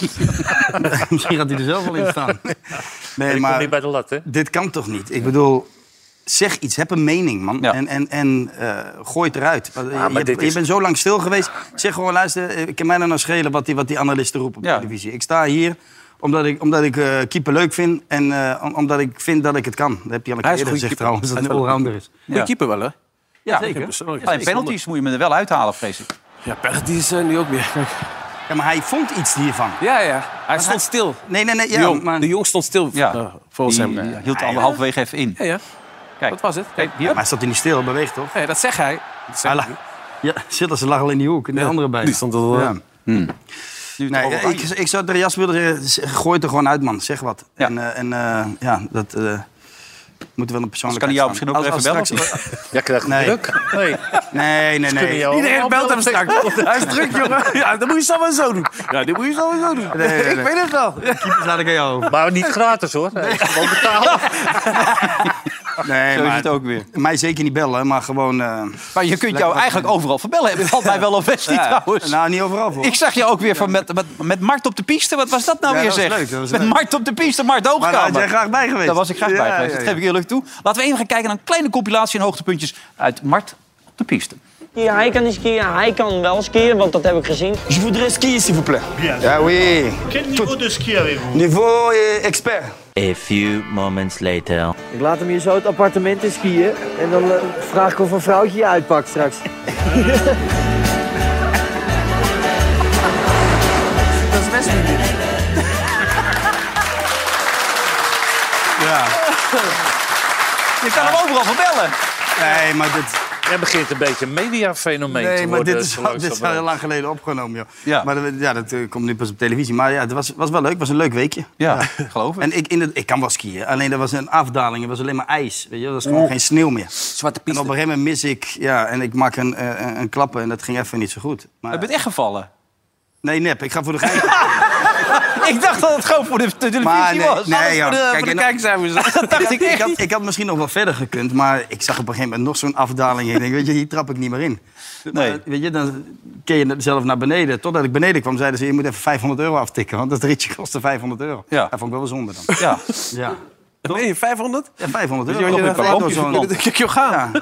C: misschien had hij er zelf wel in staan. Nee,
E: ik kom
C: maar
E: niet bij de lat, hè?
C: dit kan toch niet? Ik bedoel, zeg iets, heb een mening, man.
B: Ja.
C: En, en, en eh, gooi het eruit. Je-
E: maar
C: je,
E: dit
C: je
E: is-
C: bent zo lang stil geweest. Zeg gewoon, luister, eh, ik kan mij dan nou schelen wat die, wat die analisten roepen op de
B: Ja.
C: televisie. Ik sta hier omdat ik, omdat ik eh, keeper leuk vind en eh, om- omdat ik vind dat ik het kan. Dat heb je al een
D: Hij
C: keer
D: is
C: eerder gezegd
D: een goede
C: trouwens, dat
D: keeper.
C: hij een allrounder is.
D: Goeie
B: Ja.
D: keeper wel, hè?
B: Ja,
D: Geen
B: zeker.
D: persoonlijkheid.
B: Alleen penalties moet je me er wel uithalen, vrees ik.
D: Ja, penalties eh, nu ook meer. Kijk.
C: Ja, maar hij vond iets hiervan.
D: Ja, ja. Hij stond stil.
C: Nee, nee, nee.
D: De
C: Ja,
D: jong,
C: maar...
D: de jong stond stil,
B: Ja.
D: eh, volgens
B: Die
D: hem.
B: eh, hield al halverwege even in.
D: Ja, ja.
B: Kijk,
D: Wat was het?
B: Kijk, hier.
C: Maar hij stond hier niet stil, beweegt toch?
D: Nee, dat zegt hij. Dat zegt
C: Hij
D: hij.
C: lag- Ja, Sillersen lag al in die hoek, in de
D: Ja,
C: andere bij.
D: die stond er wel aan.
B: Nu het
C: Nee,
B: overal-
C: ik, ik zou tegen Jas willen zeggen, z- gooi het er gewoon uit, man. Zeg wat.
B: Ja.
C: En, eh, en eh, ja, dat eh moet wel een
B: Anders
C: persoonlijke
B: Dus kan hij jou misschien ook wel
C: wel
B: even bellen.
E: Jij krijgt
C: Nee.
E: druk. Nee.
C: Nee, nee,
E: Kunnen
C: nee.
E: jou
D: Iedereen belt hem straks. Hij is druk, jongen. Ja, dat moet je zo maar zo doen. Ja, dat moet je zo maar zo doen.
C: nee, nee.
D: Ik weet het wel.
C: laat ik aan jou over.
E: Maar niet gratis, hoor. Nee, Gewoon betalen.
C: Nee,
B: Zo is
C: maar,
B: het ook weer.
C: mij zeker niet bellen, maar gewoon... eh,
B: Maar je kunt jou
C: wat
B: eigenlijk overal verbellen. Heb je valt mij wel of best niet trouwens.
C: nou, niet overal voor.
B: Ik zag je ook weer van met, met, met Mart op de piste. Wat was dat nou
C: Ja,
B: weer,
C: dat was
B: zeg?
C: leuk, dat was
B: met
C: leuk.
B: Mart op de piste, Mart
C: maar
B: Hoogkamer.
C: daar had jij graag bij geweest.
B: Daar was ik graag bij
C: Ja,
B: geweest.
C: ja,
B: Dat
C: ja.
B: geef ik eerlijk toe. Laten we even gaan kijken naar een kleine compilatie en hoogtepuntjes uit Mart op de piste.
K: skiën, hij kan niet skiën, hij kan wel skiën, want dat heb ik gezien.
J: Je voudrais skier, s'il vous plaît. Ah
C: Ja, oui.
L: Quel niveau de ski avez-vous
C: Niveau eh,
J: euh,
C: expert.
L: A few moments later.
K: Ik laat hem hier zo het appartement in skiën en dan eh, vraag ik of een vrouwtje je uitpakt straks.
C: Ja.
B: Je kan hem overal verbellen.
C: Nee, maar dit...
E: Jij begint een beetje een mediafenomeen te
C: Nee, maar
E: worden.
C: dit is,
E: zo
C: al, dit is al heel
E: langzamerhand.
C: lang geleden opgenomen, joh.
B: Ja.
C: Maar dat, ja, dat eh, komt nu pas op televisie. Maar ja, het was, was wel leuk. Het was een leuk weekje.
B: Ja, geloof ik.
C: En ik, in het, ik kan wel skiën, alleen er was een afdaling, er was alleen maar ijs. Weet je, er was gewoon geen sneeuw meer.
D: Zwarte
C: En op een
D: piste.
C: gegeven moment mis ik, ja, en ik maak een, eh, een, een klappen en dat ging even niet zo goed.
B: Je
C: Maar,
B: bent echt gevallen.
C: nee, nep, ik ga voor de gein.
B: Ik dacht dat het gewoon voor de de televisie
C: Maar nee,
B: was.
C: nee, joh. Kijk, en-
B: kijkcijfers. Dat dacht
C: ik,
B: ik echt.
C: had, ik had misschien nog wel verder gekund, maar ik zag op een gegeven moment nog zo'n afdaling. Ik denk, weet je, hier trap ik niet meer in.
B: Nee.
C: Maar, weet je, dan keer je zelf naar beneden. Totdat ik beneden kwam, zeiden ze, je moet even 500 euro aftikken, want dat ritje kostte 500 euro.
B: Ja.
C: Dat vond ik wel wel zonde dan.
B: Ja.
C: Ja,
D: Nee, 500?
C: ja 500
B: je
C: euro.
B: wat je
C: Ik
B: dacht?
C: loop door
B: Lampje
C: zo'n-
B: verbrand.
D: Kijk, joh, gaan.
C: Ja.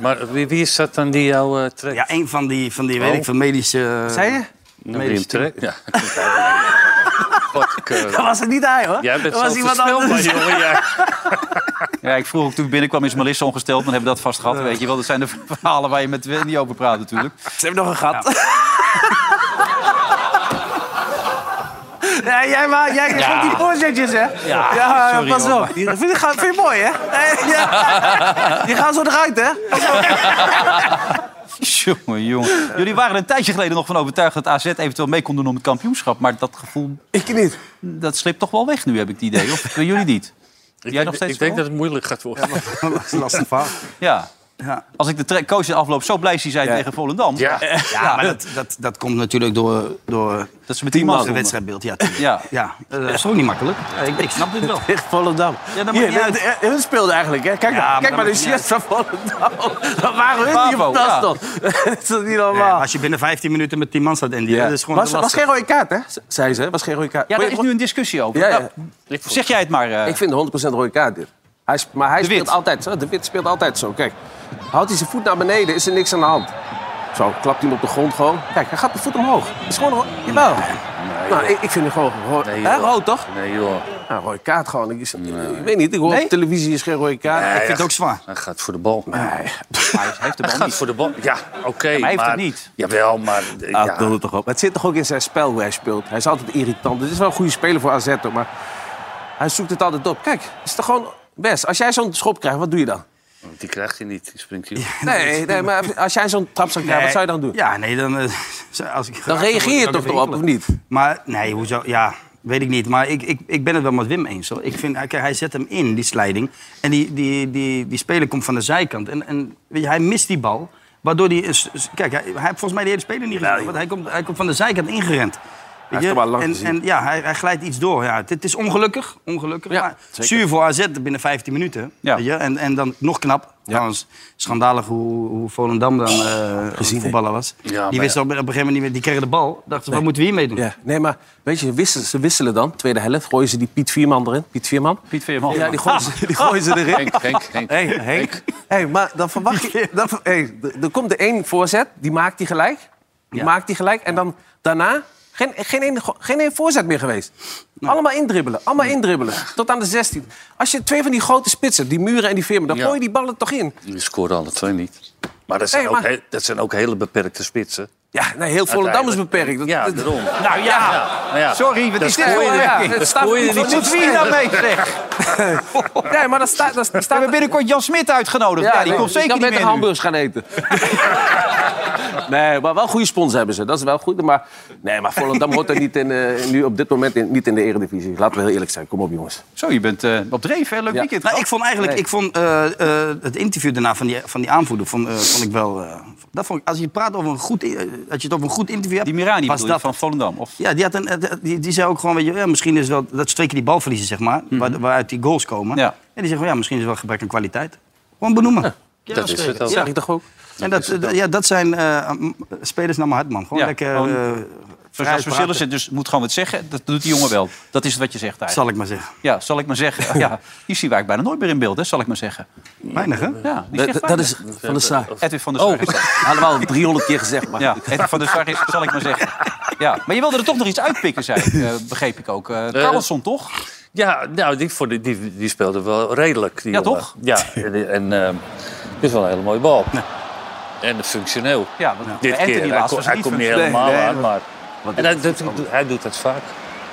E: Maar wie, wie is dat dan die jou eh trekt?
C: Ja, een van die, van die weet ik, van medische...
B: Oh. Zei je?
E: Nou, die hem
C: medische
E: trekt? Ja. Godkeur.
D: Dat was het niet hij, hoor.
E: eh, Jij bent
D: dat was
E: zo verspilbaar, jongen. jij.
B: Ja, ik vroeg ook toen ik binnenkwam, is Melissa ongesteld? Dan hebben we dat vast gehad, weet je wel. Dat zijn de verhalen waar je met Wil niet over praat natuurlijk.
D: Ze hebben nog een gat. Ja. jij maakt jij geeft ook die voorzetjes, hè? Ja,
B: sorry,
D: pas
B: hoor,
D: op. Die Vind, ik- vind je mooi, hè? Nee, ja. Die gaan zo eruit, hè?
B: Jongen, jongen. Jullie waren er een tijdje geleden nog van overtuigd dat AZ eventueel mee kon doen om het kampioenschap. Maar dat gevoel,
D: Ik niet.
B: dat slipt toch wel weg nu, heb ik het idee. Of doen jullie niet?
E: Ik,
B: Jij nog
E: denk-
B: steeds
E: ik denk
B: voor?
E: dat het moeilijk gaat worden. Ja,
C: lastig verhaal.
B: Ja.
C: Ja.
B: Als ik de tra- coach in de afloop zo blij zie zijn tegen Volendam.
C: Ja, maar dat, dat, dat komt natuurlijk door, door
B: Dat ze met die
C: het
B: man
C: wedstrijdbeeld. Ja, tuurlijk.
B: Ja.
C: ja, eh, dat is ook niet makkelijk. Ik, ik snap dit wel.
D: Echt Volendam.
C: Ja, dat
D: Hier,
C: maakt niet uit.
D: de- de- hun speelden eigenlijk, hè? Kijk,
C: maar
D: maar, kijk
C: dat
D: maar, de
C: maakt niet
D: shirt van Volendam. Dat waren hun die
B: Bravo,
D: op tas
B: ja.
D: stond. Dat is toch niet
C: Ja,
D: normaal.
C: als je binnen 15 minuten met 10 man staat, Andy, dat is gewoon
D: was,
C: te
D: was
C: lastig.
D: geen rode kaart, hè? Zei ze, hè? was geen rode kaart.
B: Ja,
D: Maar
B: daar
D: je-
B: is nu een discussie over.
D: Ja, ja.
B: Nou, zeg jij het maar. eh.
D: Ik vind 100% rode kaart dit. Hij, sp- maar hij
B: De Wit.
D: speelt altijd zo. De Wit speelt altijd zo. Kijk, houdt hij zijn voet naar beneden, is er niks aan de hand. Zo, klapt hij hem op de grond gewoon. Kijk, hij gaat de voet omhoog. Dat is gewoon... Jawel. nou, ik, ik vind het gewoon... gewoon
E: Nee,
D: hè,
E: joh.
D: rood, toch?
E: Nee, joh.
D: Ja, rode kaart gewoon. Ik, ik weet niet, ik hoor op televisie is geen rode kaart.
E: Nee,
D: ik vind
E: hij
D: het ook zwaar.
E: gaat- Hij gaat voor de bal. hij
D: heeft de
E: gaat voor de bal. Ja, oké.
D: Ja, maar hij heeft het niet.
E: Jawel, maar... eh,
D: Ah,
E: ja.
D: dat doet het toch op. Het zit toch ook in zijn spel hoe hij speelt. Hij is altijd irritant. Dit is wel een goede speler voor AZ, hoor, maar hij zoekt het altijd op. Kijk, het is toch gewoon best. Als jij zo'n schop krijgt, wat doe je dan?
E: Die krijgt hij niet. Die springt hij op.
D: Nee, nee maar als jij zo'n trap zou krijgen, wat zou je dan doen?
C: Ja, nee, dan... eh, als ik geraakt
D: Dan
C: word,
D: reageer je
C: dan
D: toch
C: weer
D: erop, of niet?
C: Maar nee, hoezo? Ja, weet ik niet. Maar ik, ik, ik ben het wel met Wim eens. Hoor. Ik vind, kijk, hij zet hem in, die slijding. En die, die, die, die speler komt van de zijkant. En, en weet je, hij mist die bal. Waardoor die... is- is- Kijk, hij, hij heeft volgens mij de hele speler niet gezien. Want hij komt, hij komt van de zijkant ingerend. Weet
D: heeft
C: je?
D: hem al lang
C: en,
D: gezien.
C: en ja, hij, hij glijdt iets door. Ja, het, het is ongelukkig. ongelukkig maar
D: zeker.
C: zuur voor AZ binnen 15 minuten. Weet je? En, en dan nog knap. Trouwens, schandalig hoe, hoe Volendam dan eh voetballer was.
E: Ja,
C: die
E: maar
C: wisten op, op een gegeven moment niet meer. Die kregen de bal. Dachten ze, wat moeten we hiermee doen?
D: Ja, nee, maar weet je, wisselen, ze wisselen dan, tweede helft, gooien ze die Piet Vierman erin. Piet Vierman?
B: Piet Veerman.
D: Ja, die gooien ze, die gooien ze erin.
E: Henk, Henk, Henk.
D: Hé, hey, Henk. Hey, maar dan verwacht je... Dan, ver- hey, d- er komt de één voorzet, die maakt die gelijk. Die maakt die gelijk. En dan daarna geen, geen, één, go- geen één voorzet meer geweest. Allemaal indribbelen, allemaal indribbelen. Tot aan de 16. Als je twee van die grote spitsen, die Muren en die Veerman... dan
E: Ja.
D: gooi je die ballen toch in.
E: Die scoren alle twee niet. Maar dat zijn,
D: Nee, maar-
E: Ook, he- dat zijn ook hele beperkte spitsen.
D: Ja, nee, heel Volendam is beperkt. Dat-
E: Ja,
D: dat-
E: daarom.
B: Nou ja,
E: Nou ja.
B: sorry, wat
E: Dat
B: is dit?
E: scoor je er-
B: Ja,
E: dat
B: het
E: scoor
B: staat
E: je
B: niet
E: er niet
B: Wat
E: zo
B: wie
E: snel.
B: daarmee nou zeg?
D: Nee, maar dat staat... Dat staat
B: We hebben binnenkort Jan Smit uitgenodigd. Ja, die
D: nee,
B: komt
D: je
B: zeker
D: kan
B: niet
D: beter
B: meer nu.
D: hamburgers gaan eten. nee, maar wel een goede spons hebben ze. Dat is wel goed. Maar, nee, maar Volendam hoort er niet in, eh, nu op dit moment in, niet in de eredivisie. Laten we heel eerlijk zijn. Kom op, jongens.
B: Zo, je bent eh, op dreef, hè? Leuk
D: Ja.
B: weekend.
C: Nou, ik vond eigenlijk
D: Nee.
C: ik vond, eh, eh, het interview daarna van die, van die aanvoerder vond, eh, vond ik wel. eh, dat vond ik, als je praat over een goed, in- eh, als je het over een goed interview hebt.
B: Die Mirani
C: was
B: bedoel je,
C: dat
B: van Volendam. Of...
C: Ja, die, had een, eh, die, die zei ook gewoon, weet je, ja, misschien is wel dat streken die bal verliezen, zeg maar, waar, waaruit die goals komen.
B: Ja.
C: En die zeggen, van, ja, misschien is het wel gebrek aan kwaliteit. Gewoon benoemen.
E: Dat is het ook.
D: Dat zeg ik toch ook?
C: En dat, eh, ja, dat zijn eh, m- spelers naar mijn hart, man. Gewoon
B: Ja,
C: lekker.
B: gewoon
C: eh, vrij
B: Verstaat verschillen
C: praten.
B: zit, dus moet gewoon wat zeggen. Dat doet die jongen wel. Dat is wat je zegt eigenlijk.
C: Zal ik maar zeggen.
B: Ja, zal ik maar zeggen. Ja, die zien wij eigenlijk bijna nooit meer in beeld, hè, zal ik maar zeggen.
C: Weinig, hè?
B: Ja, die
D: Dat,
B: zegt
D: dat- dat
B: weinig.
D: is Van der Sar.
B: Edwin van der Sar.
D: Oh, allemaal 300 keer gezegd. Maar.
B: Ja, Edwin van der Sar is, zal ik maar zeggen. Ja, maar je wilde er toch nog iets uitpikken, zei ik, eh, begreep ik ook. Eh Carlson, toch?
E: Ja, nou, die, voor die, die, die speelde wel redelijk. Die
B: Ja,
E: jongen.
B: toch?
E: Ja, en, en ehm, dit is wel een hele mooie bal. En functioneel.
B: Ja, want bij
E: Dit
B: Anthony
E: keer. Hij,
B: laatst
E: ko-
B: was
E: hij
B: het
E: komt
B: niet
E: niet
B: van-
E: helemaal
B: Nee, Nou, nee,
E: aan, maar... En hij, doet,
D: het
E: hij doet dat vaak.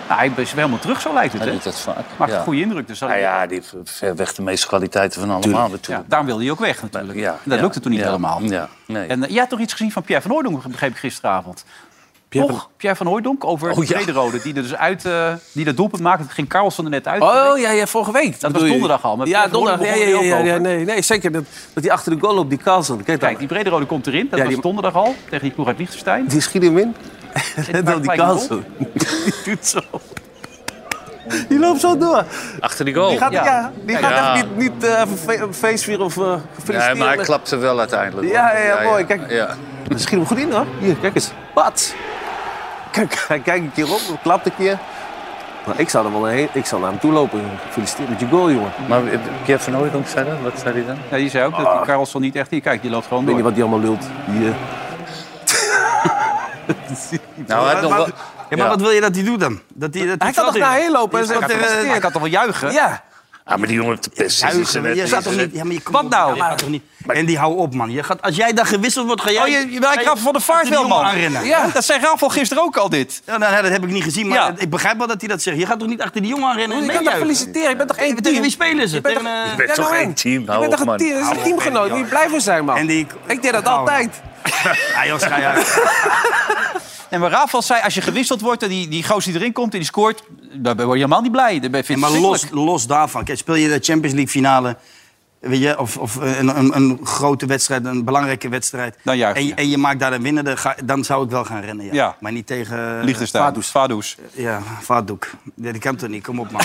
B: Nou, hij is wel helemaal terug, zo lijkt het.
E: Hij
B: Hè?
E: doet dat vaak.
B: Maakt
E: ja.
B: een goede indruk. Dus dat-
E: Nou ja, die heeft ver weg de meeste kwaliteiten van allemaal
B: ja,
E: natuurlijk.
B: daarom wilde hij ook weg natuurlijk.
E: Ja,
B: dat
E: ja,
B: lukte toen niet
E: ja,
B: helemaal.
E: Ja, nee.
B: En eh, jij had toch iets gezien van Pierre van Hooydonk, begreep ik gisteravond. Pierre toch? Pierre van Hooydonk over
E: Oh, ja.
B: de rode die er dus uit, eh, die dat doelpunt maakte. Het ging Carlson er net uit.
D: Oh ja, ja, vorige week.
B: was
D: bedoel je.
B: donderdag al, maar
D: Ja,
B: Pierre van
D: donderdag. Ja,
B: Hooydonk
D: ja,
B: begon er
D: ja,
B: ook
D: ja,
B: over.
D: nee, nee, zeker. Dat, dat die achter de goal loopt, die Carlson. Kijk,
B: Kijk,
D: Kijk
B: die brede rode komt erin. Dat
D: Ja,
B: was
D: die-
B: donderdag al tegen die ploeg uit Liechtenstein.
D: die schiet hem in. En
B: maakt
D: dan die
B: gelijk een goal.
D: Carlson. Die doet zo. Die loopt zo door.
E: Achter die goal.
D: Die gaat,
B: Ja.
D: ja. die
B: Kijk,
D: gaat
E: ja.
D: echt niet, niet eh, even fe- een feest vieren of eh
E: Nee,
D: feliciteren.
E: maar hij klapte wel uiteindelijk. hoor.
D: Ja, ja, ja, mooi, kijk.
E: Ja.
D: Dat schiet hem goed in hoor. Hier, kijk eens. Wat? Kijk, hij kijkt een keer op, klapt een keer. Nou, ik zou er wel heen, ik zou naar hem toe lopen. Gefeliciteerd met je goal, jongen. Ik
E: Maar eh, Pierre van Hooydonk zei dat? Wat zei hij dan?
B: Ja, die zei ook dat die Carlson niet echt hier kijkt. Die loopt gewoon
D: Oh. weet
B: door.
D: niet wat die allemaal lult. Die, eh,
E: Nou, hij had nog wel...
C: Ja, maar
E: Ja.
C: wat wil je dat hij doet dan? Dat die, dat die
D: hij kan
C: veld
D: toch
C: in-
D: daarheen lopen en zeggen
B: Hij eh, kan toch- hij
D: gefeliciteerd.
B: kan toch wel juichen?
D: Ja,
E: Ah, maar die jongen te pesten.
C: Ja, maar je zat toch niet... Ja, maar je komt
B: Wat
C: op,
B: nou?
C: je gaat toch niet... En die hou op, man. Je gaat, als jij dan gewisseld wordt, ga jij...
B: Oh, je, je lijkt
C: ga
B: Rafa van de Vaart
C: achter die
B: wel,
C: jongen
B: man.
C: aanrennen.
B: Ja, dat zei Rafa gisteren ook al dit.
C: Ja, nou, nee, dat heb ik niet gezien, maar
B: Ja.
C: ik begrijp wel dat hij dat zegt. Je gaat toch niet achter die jongen aanrennen?
D: je
C: en
D: kan toch
C: meejuichen?
D: feliciteren? Je bent toch één
C: Tegen
D: team?
C: wie spelen ze?
D: Je bent
C: Tegen, eh,
E: Je bent
D: Ja,
E: toch
D: nou,
E: één
D: en?
E: team?
D: Je
E: Hou
D: bent toch
E: op,
D: een
E: man.
D: team? Dat is
C: Hou
D: een
C: op,
D: teamgenoot.
C: man.
D: Moet je blij voor zijn, man.
C: En die-
D: Ik deed dat
C: Nou,
D: altijd.
C: Ah, joh, ga je uit.
B: En maar Rafa zei, als je gewisseld wordt en die, die gozer die erin komt en die scoort... Daar ben je helemaal niet blij. Daar ben je-
C: Ja,
B: vind je
C: maar
B: het
C: los,
B: verschrikkelijk.
C: los daarvan. Kijk, speel je de Champions League finale... Weet je, of, of eh, een, een, een grote wedstrijd, een belangrijke wedstrijd.
B: Dan juich je.
C: en, en je maakt daar een winnende, ga- dan zou ik wel gaan rennen. Ja.
B: Ja.
C: Maar niet tegen... eh,
B: Liechtenstein. Vadoes. Vadoes.
C: Ja, vaatdoek. Nee, dat kan toch niet? Kom op, man.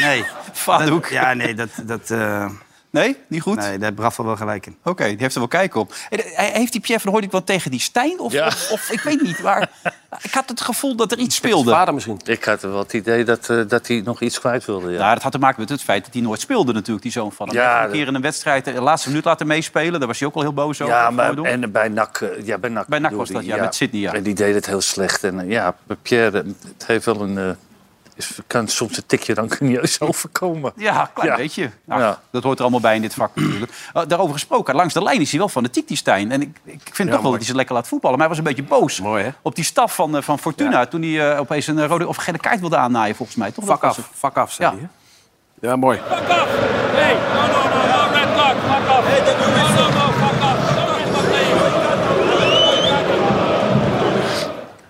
C: Nee.
B: Vaatdoek.
C: Dat- ja, nee, dat... dat eh,
B: Nee, niet goed?
C: Nee, daar heeft Rafa wel gelijk in.
B: Oké, die heeft er wel kijk op. En, eh, Heeft die Pierre van Hooydonk wat tegen die Stijn? Of, of, of ik weet niet, maar ik had het gevoel dat er iets speelde.
E: Vader misschien. Ik had wel het idee dat, eh, dat hij nog iets kwijt wilde. Ja.
B: Ja, Nou, dat had te maken met het feit dat hij nooit speelde natuurlijk, die zoon van hem.
E: Ja,
B: Hij heeft een
E: dat-
B: keer in een wedstrijd eh, de laatste minuut laten meespelen. Daar was hij ook al heel boos over.
E: Ja,
B: van
E: maar,
B: Hooijdonk.
E: en bij NAC, eh, ja, bij NAC,
B: Bij NAC
E: bedoel
B: was dat,
E: ik,
B: ja, met Sydney, ja.
E: En die deed het heel slecht. En eh, ja, Pierre, eh, het heeft wel een... eh, is, kan soms een tikje rancunieus overkomen.
B: Ja, een klein
E: Ja.
B: beetje. Ach,
E: Ja.
B: Dat hoort er allemaal bij in dit vak natuurlijk. Eh, daarover gesproken, langs de lijn is hij wel fanatiek, die Stijn. En ik, ik vind toch wel dat hij ze lekker laat voetballen. Maar hij was een beetje boos op die staf van, eh, van Fortuna... toen hij eh, opeens een eh, rode of gele kaart wilde aannaaien, volgens mij. Toch?
D: Vak
B: Dat was
D: af,
B: het.
D: vak af, zei
B: Ja.
D: hij. hè? Ja, mooi.
M: Hey, no, no, no, no, red card, fuck off. Hey, no, no, no, fuck off. No red card,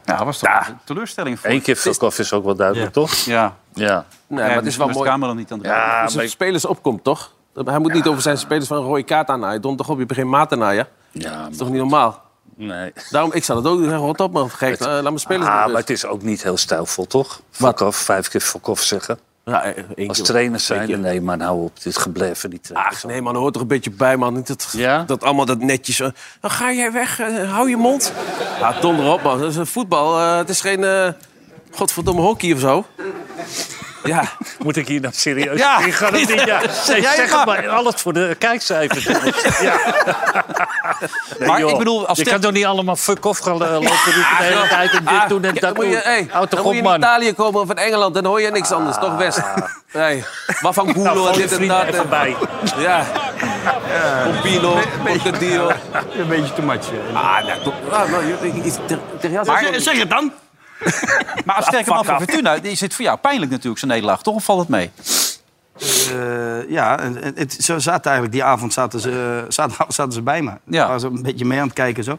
B: Ja, was toch een teleurstelling voor
E: Eén keer Vilkoff is ook wel duidelijk, toch?
B: Ja.
E: Ja.
D: Nee, maar het is wel mooi.
B: Camera niet aan de
D: Ja,
E: maar
D: als het
E: ik-
D: spelers opkomt, toch? Hij moet niet over zijn spelers van een rode kaart aannaaien. Don toch op, je begint maat te naaien.
E: Ja,
D: Dat is toch niet normaal?
E: nee.
D: Daarom, ik zou dat ook doen. Zeg, Rot op, man. Gek, eh, laat mijn spelers
E: Ah,
D: maar
E: maar
D: rust.
E: het is ook niet heel stijlvol, toch? Volkov, vijf keer Volkov zeggen.
D: Ja, eh, één keer
E: Als
D: wel.
E: trainers
D: Eén
E: zijn,
D: keer.
E: nee, maar nou op, dit gebleven van die trainers.
D: Ach, nee, man, hoort er een beetje bij, man. Niet dat, dat allemaal dat netjes... eh, Dan ga jij weg, eh, hou je mond. Ja, donder op, man. Dat is een voetbal. eh, het is geen eh, godverdomme hockey of zo. Ja.
E: Moet ik hier nou serieus
D: Ja.
E: in gaan? Ja.
D: Ja,
E: Nee,
D: zeg jij
E: zeg
D: maar.
E: het maar. Alles voor de kijkcijfers. jongens. ja. Nee,
B: Maar
E: joh,
B: ik bedoel, als
E: je
B: Ter-
E: kan toch niet allemaal fuck off gaan eh, lopen roepen de hele tijd en dit doen en
D: Ja,
E: dat
D: moet
E: doen.
D: je, hey,
E: Houd
D: dan
E: toch
D: moet
E: op,
D: je in
E: man. Ah.
D: Italië komen of in Engeland, dan hoor je niks anders, toch West? Nee, wat van Boelo
E: Nou,
D: en
E: gooi je
D: dit en
E: vrienden
D: dat.
E: even
D: en-
E: bij.
D: Ja. Pompino, Pocadio.
N: Een beetje te much.
D: Ah, nou, toch. Ah, nou, je- je- je- ter- ter- ja, sorry.
B: het dan. maar als sterke man van Fortuna, is het voor jou pijnlijk natuurlijk, zo'n nederlaag. Toch? Of valt het mee?
C: Eh, ja, en- en het, zo zaten eigenlijk die avond zaten ze, eh, zaterdagavond zaten ze bij me.
B: Ja.
C: Waren ze een beetje mee aan het kijken zo.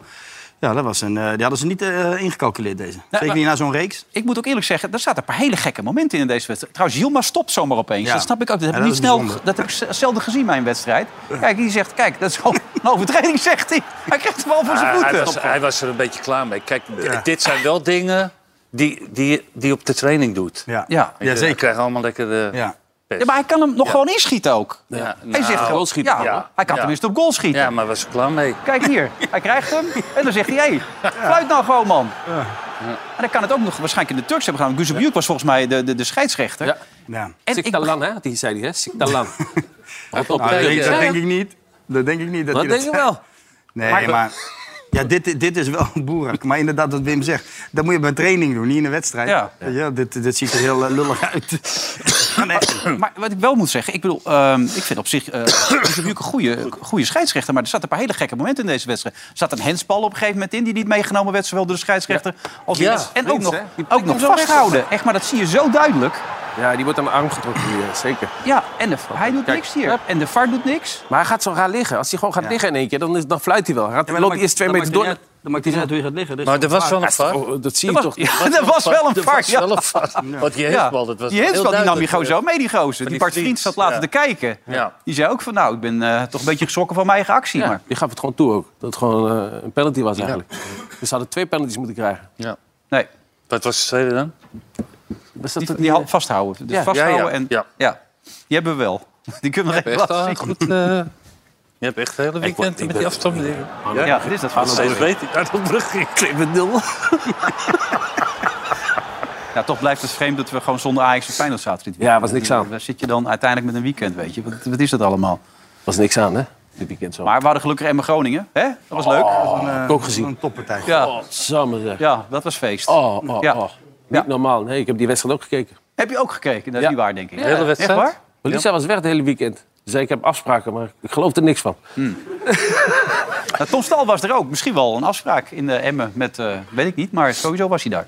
C: Ja, dat was een, eh, die hadden ze niet eh, ingecalculeerd deze.
B: Nou,
C: Zeker
B: maar-
C: niet na zo'n reeks.
B: Ik moet ook eerlijk zeggen, er zaten een paar hele gekke momenten in deze wedstrijd. Trouwens, Yilmaz stopt zomaar opeens.
C: Ja.
B: Dat snap ik ook. Dat heb
C: Ja, dat
B: ik, niet
C: is
B: snel,
C: bijzonder.
B: dat heb ik z- zelden gezien bij een wedstrijd. Kijk, die zegt, kijk, dat is gewoon een overtreding, zegt hij. Hij krijgt de bal voor zijn
E: Ah, hij,
B: voeten.
E: was, hij was er een beetje klaar mee. Kijk, dit zijn wel dingen die, die, die je op de training doet.
C: Ja,
B: Ja.
E: ja zeker. krijgen allemaal lekker de pers.
B: Ja, maar hij kan hem nog gewoon inschieten ook.
E: Ja,
B: hij
E: nou,
B: zegt gewoon,
E: goalschieten,
B: ja,
E: ja.
B: hij kan
E: Ja.
B: tenminste op goal schieten.
E: Ja, maar was er klaar mee.
B: Kijk hier, hij krijgt hem en dan zegt hij, hé, fluit nou gewoon, man. En dan kan het ook nog waarschijnlijk in de Turks hebben gedaan. Guzebjuk was volgens mij de, de, de scheidsrechter.
D: Ja.
C: Ja.
B: En ik,
D: Siktalan, hè? Die zei hij, hè? Siktalan. Op, op,
C: Nou, dat, denk,
D: ja,
C: dat
D: ja.
C: denk ik niet. Dat denk ik niet. Dat,
D: Dat
C: hij dat
D: denk ik
C: zei.
D: wel.
C: Nee,
D: Maar-
C: maar... ja, dit, dit is wel een boerak. Maar inderdaad, wat Wim zegt, dat moet je bij een training doen, niet in een wedstrijd.
B: Ja.
C: Weet je wel, dit, dit ziet er heel eh, lullig uit.
B: Maar wat ik wel moet zeggen, ik bedoel, ehm, ik vind op zich eh Guzebjuk een goede, goede scheidsrechter. Maar er zaten een paar hele gekke momenten in deze wedstrijd. Er zat een hensbal op een gegeven moment in die niet meegenomen werd, zowel door de scheidsrechter als
D: Ja,
B: En ook
D: links,
B: nog,
D: hè? Die
B: ook
D: prikt
B: nog
D: hem zo weg.
B: vasthouden. Echt, maar dat zie je zo duidelijk.
D: Ja, die wordt aan mijn arm getrokken hier, zeker.
B: Ja, en de, hij doet
D: Kijk,
B: niks hier.
D: hup.
B: En de VAR doet niks.
D: Maar hij gaat zo raar liggen. Als hij gewoon gaat liggen in één keer, dan, is, dan fluit hij wel. Hij gaat, loopt hij eerst twee meter door.
C: Dan maakt hij niet uit hoe je gaat liggen.
E: Maar Ah, er was wel een
D: Dat is toch-
E: var.
D: oh, Dat zie
B: Er
D: je
B: was-
D: toch
B: ja,
D: niet.
B: er was wel een
E: Er
B: VAR.
E: was
B: Ja.
E: wel een var. Want die heersbal, dat was
B: die
E: heel
B: heensbal, die nam je
E: duidelijk,
B: gewoon
E: eh,
B: zo mee, die gozer. Die,
E: die
B: Bart
E: Vries,
B: Vriends zat laten
E: ja.
B: te kijken.
E: Ja.
B: Die zei ook van, nou, ik ben eh, toch een beetje geschrokken van mijn eigen actie.
D: Ja,
B: Maar
D: die gaf het gewoon toe ook. Dat het gewoon eh, een penalty was eigenlijk. Dus ze hadden twee penalties moeten krijgen.
E: Ja.
B: nee,
E: Wat was de tweede dan?
D: Was dat
B: die,
D: toch
B: die
D: niet-
B: had- vasthouden. Dus
D: Ja.
B: vasthouden
E: Ja, ja,
B: en... Ja.
E: ja.
B: die hebben we wel. Die kunnen we nog even
E: Echt,
B: laten
E: ah,
B: zien.
E: goed, eh, je hebt echt het hele weekend met die afstanden.
D: Ah,
B: Ja, dit is dat
E: Gaat
B: van
E: steeds beter. Ja, dat brug ging.
D: Criminal.
B: Ja, toch blijft het vreemd dat we gewoon zonder Ajax en Feyenoord zaten. dit weekend.
D: Ja, was niks aan.
B: Waar zit je dan uiteindelijk met een weekend, weet je? Wat, wat is dat allemaal?
D: Was niks aan, hè? Dit weekend zo.
B: Maar we hadden gelukkig Emma Groningen. Hè? Dat was leuk.
E: Oh.
D: heb ik ook gezien.
C: Een toppartij.
B: Ja,
D: Samen zeg.
B: ja, dat was feest.
D: Oh, oh,
B: Ja.
D: oh. Niet normaal. Nee, ik heb die wedstrijd ook gekeken.
B: Heb je ook gekeken? Dat is
D: Ja.
B: niet waar, denk ik.
E: De hele
B: Echt
E: wedstrijd?
B: waar?
D: Maar Lisa was weg het hele weekend. Ze zei, ik heb afspraken, maar ik geloof er niks van.
B: Nou, Tom Stal was er ook. Misschien wel een afspraak in de Emmen met, eh, weet ik niet, maar sowieso was hij daar.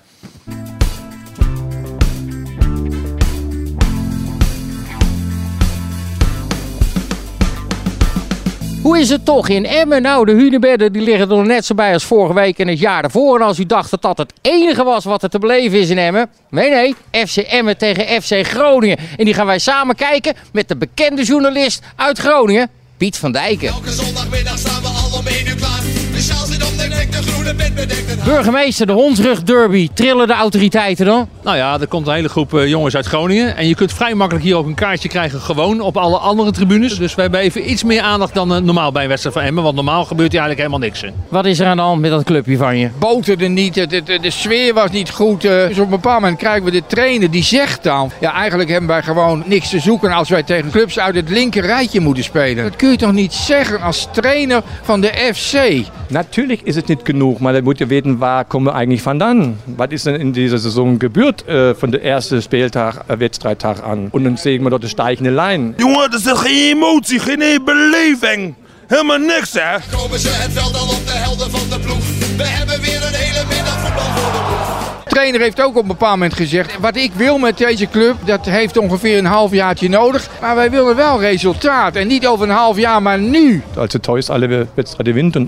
O: Hoe is het toch in Emmen? Nou, de Hunebedden die liggen er nog net zo bij als vorige week en het jaar daarvoor. En als u dacht dat dat het enige was wat er te beleven is in Emmen. Nee, nee. FC Emmen tegen FC Groningen. En die gaan wij samen kijken met de bekende journalist uit Groningen, Piet van Dijken.
P: Elke zondagmiddag staan we al om 1 uur klaar.
M: De sjaal zit om de nek, de groene bed bedekt het
O: Burgemeester, de Hondsrug Derby. Trillen de autoriteiten dan?
N: Nou ja, er komt een hele groep eh, jongens uit Groningen. En je kunt vrij makkelijk hier ook een kaartje krijgen, gewoon op alle andere tribunes. Dus we hebben even iets meer aandacht dan eh, normaal bij een wedstrijd van Emmen. Want normaal gebeurt hier eigenlijk helemaal niks. Hè.
O: Wat is er aan de hand met dat clubje van je?
P: boterde niet, het- het- de, sfeer was niet goed. eh. Dus op een bepaald moment krijgen we de trainer die zegt dan... Ja, eigenlijk hebben wij gewoon niks te zoeken als wij tegen clubs uit het linker rijtje moeten spelen. Dat kun je toch niet zeggen als trainer van de FC?
Q: Natürlich ist es nicht genug. Man muss ja wissen, wo kommen wir eigentlich von dann? Was ist denn in dieser Saison gebührt äh, von der ersten Spieltag, äh, Wettstreittag an? Und dann sehen wir dort die steigende Line.
R: Jongen, er zit geen emotie, geen beleving. Helemaal niks, hè?
M: Komen ze het veld al op de helden van de ploeg. We hebben weer een hele middag voetbal voor de boeg.
P: De trainer heeft ook op een bepaald moment gezegd... wat ik wil met deze club, dat heeft ongeveer een halfjaartje nodig. Maar wij willen wel resultaat. En niet over een half jaar, maar nu.
Q: Als der Toys alle Wettstreite gewinnt und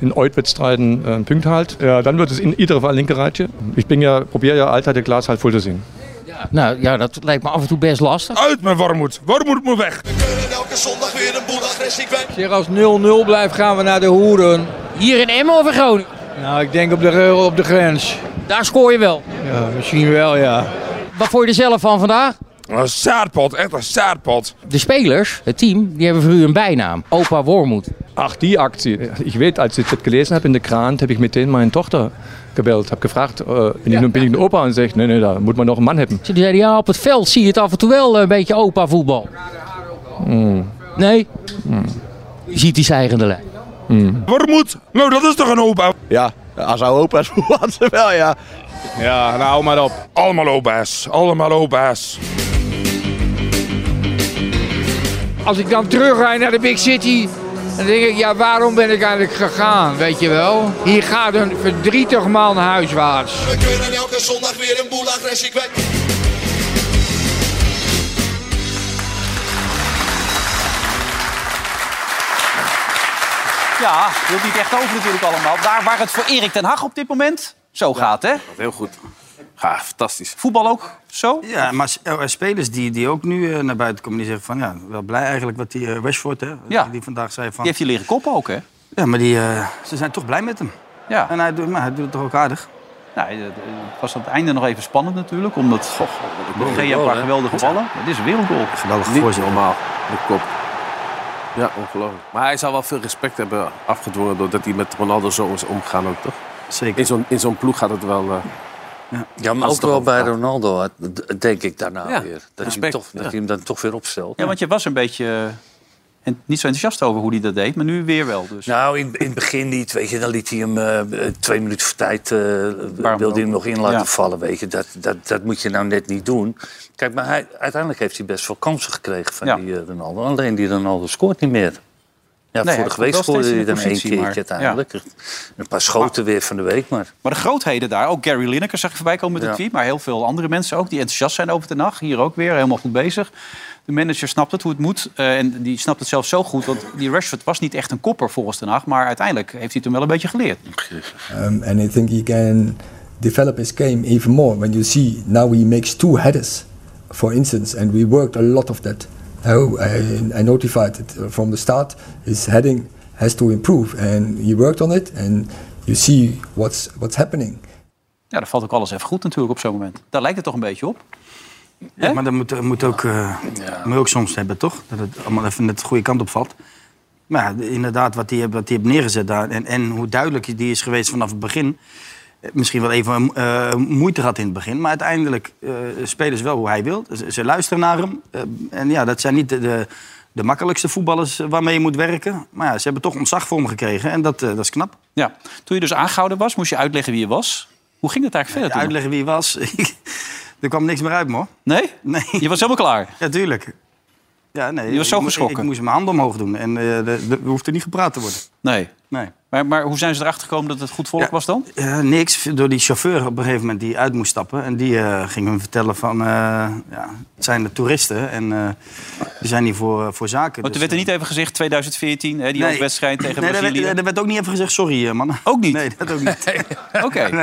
Q: in Eut-Wettstreiten äh, einen Punkt halt, ja, dann wird es in jeder Fall linke Reitje. Ich bin ja, probiere ja Alter der Glas halb voll zu sehen.
O: Nou ja, dat lijkt me af en toe best lastig.
R: Uit mijn warmoed. Warmoed moet weg.
M: Elke zondag weer een boel agressie kwijt.
S: Zeg, als 0-0 blijft, gaan we naar de Hoeren.
O: Hier in Emmen of in Groningen?
S: Nou, ik denk op de, op de grens.
O: Daar scoor je wel.
S: Ja, misschien wel, ja.
O: Wat vond je er zelf van vandaag?
R: Een zaadpot, echt een zaadpot.
O: De spelers, het team, die hebben voor u een bijnaam. Opa Wormoed.
Q: Ach, die Aktie. Ich weiß, als ich das gelesen habe in der Grant, habe ich mit denen meine Tochter gebellt, habe gefragt, äh, bin, ich, nur- bin ich ein Opa? Und sagt, nee, nee, da muss man noch einen Mann haben.
O: Ze zeiden, ja, op het veld zie je het af en toe wel eh, een beetje opa voetbal.
Q: Mm.
O: Nee? Je ziet die zeigende lijn.
Q: Mm.
R: Warmoed. Nou, dat is toch een opa? Ja, als oude opa's voelen ze wel, ja. Ja, nou, hou maar op. Allemaal opa's. Allemaal opa's.
S: Als ik dan terugrij naar de Big City, dan denk ik, ja, waarom ben ik eigenlijk gegaan, weet je wel? Hier gaat een verdrietig man huiswaarts.
M: We kunnen elke zondag weer een boel agressie kwijt.
B: Ja, hield niet echt over natuurlijk allemaal. Daar waar het voor Erik ten Hag op dit moment zo gaat, hè?
D: Heel goed. Ja, fantastisch.
B: Voetbal ook zo?
C: Ja, maar s- er- er spelers die, die ook nu eh, naar buiten komen, die zeggen van ja, wel blij eigenlijk wat die eh, Rashford, hè, die vandaag zei van...
B: Die heeft je leren koppen ook, hè?
C: Ja, maar die, eh, ze zijn toch blij met hem.
B: Ja.
C: En hij doet, maar hij doet het toch ook aardig.
B: Nou, eh, eh, het was aan het einde nog even spannend natuurlijk. Omdat, goh,
D: goal,
B: Gea een
D: goal,
B: paar
D: hè?
B: geweldige ballen. Het is een wereldgoal.
C: Geweldig
D: Niet normaal. De kop. Ja, ongelooflijk. Maar hij zou wel veel respect hebben afgedwongen doordat hij met Ronaldo zo is omgegaan ook, toch?
C: Zeker.
D: In zo'n, in zo'n ploeg gaat het wel... eh,
E: Ja,
D: als
E: maar ook
D: het
E: wel
D: erover
E: bij
D: gaat.
E: Ronaldo, had, d- denk ik daarna
D: Ja,
E: weer. Dat, hij, hem
D: respect,
E: toch, dat
D: ja.
E: hij hem dan toch weer opstelt.
B: Ja, want je was een beetje eh, en niet zo enthousiast over hoe hij dat deed. Maar nu weer wel. Dus.
E: Nou, in, in het begin niet, weet je. Dan liet hij hem eh, twee minuten voor tijd... eh, wilde hij hem nog in laten
B: Ja.
E: vallen, weet je. Dat, dat, dat moet je nou net niet doen. Kijk, maar hij, uiteindelijk heeft hij best veel kansen gekregen van die eh, Ronaldo. Alleen die Ronaldo scoort niet meer. Ja,
B: Nee, hij
E: vorige
B: komt
E: week
B: wel
E: scoorde
B: steeds
E: hij
B: in de
E: dan één
B: positie,
E: keertje
B: maar-
E: uiteindelijk. Een paar schoten weer van de week, maar...
B: Maar de grootheden daar, ook Gary Lineker zag ik voorbij komen met een
E: Ja.
B: tweet. Maar heel veel andere mensen ook die enthousiast zijn over de nacht. Hier ook weer, helemaal goed bezig. De manager snapt het hoe het moet. eh, en die snapt het zelf zo goed. Want die Rashford was niet echt een kopper volgens de nacht. Maar uiteindelijk heeft hij het hem wel een beetje geleerd.
T: Um, and I think he can develop his game even more. When you see now he makes two headers, for instance, and we worked a lot of that. How I, I notified it uh, from the start. His heading has to improve, and he worked on it. And you see what's what's happening.
B: Ja, dan valt ook alles even goed natuurlijk op zo'n moment. Daar lijkt het toch een beetje op.
C: Ja, maar dat moet, dat moet, ook, eh moet je ook soms hebben, toch? Dat het allemaal even net de goede kant op valt. Maar ja, inderdaad, wat hij wat die heeft neergezet daar... En, en hoe duidelijk die is geweest vanaf het begin... Eh, Misschien wel even eh, moeite gehad in het begin. Maar uiteindelijk eh, spelen ze wel hoe hij wil. Ze, ze luisteren naar hem. Eh, en ja, dat zijn niet de, de, de makkelijkste voetballers eh, waarmee je moet werken. Maar ja, ze hebben toch ontzag voor hem gekregen. En dat, eh, dat is knap.
B: Ja. Toen je dus aangehouden was, moest je uitleggen wie je was. Hoe ging het eigenlijk verder toen?
C: Uitleggen wie hij was. er kwam niks meer uit, man.
B: Nee? Je was helemaal klaar?
C: Ja, tuurlijk. Ja, nee,
B: Je was zo
C: ik mo-
B: geschrokken?
C: Ik, moest mijn handen omhoog doen en eh, de- de- er hoefde niet gepraat te worden.
B: Nee.
C: Nee.
B: Maar, maar hoe zijn ze erachter gekomen dat het goed volk was dan?
C: Ja, niks, door die chauffeur op een gegeven moment die uit moest stappen. En die eh, ging hem vertellen van, eh, ja, het zijn de toeristen en eh die zijn hier voor, eh, voor zaken.
B: Want
C: Dus,
B: er werd er niet even gezegd 2014, hè, die
C: Nee.
B: wedstrijd tegen
C: nee, er werd,
B: Brazilië.
C: er werd ook niet even gezegd, sorry eh, man.
B: Ook niet?
C: Nee, dat ook niet.
B: Oké.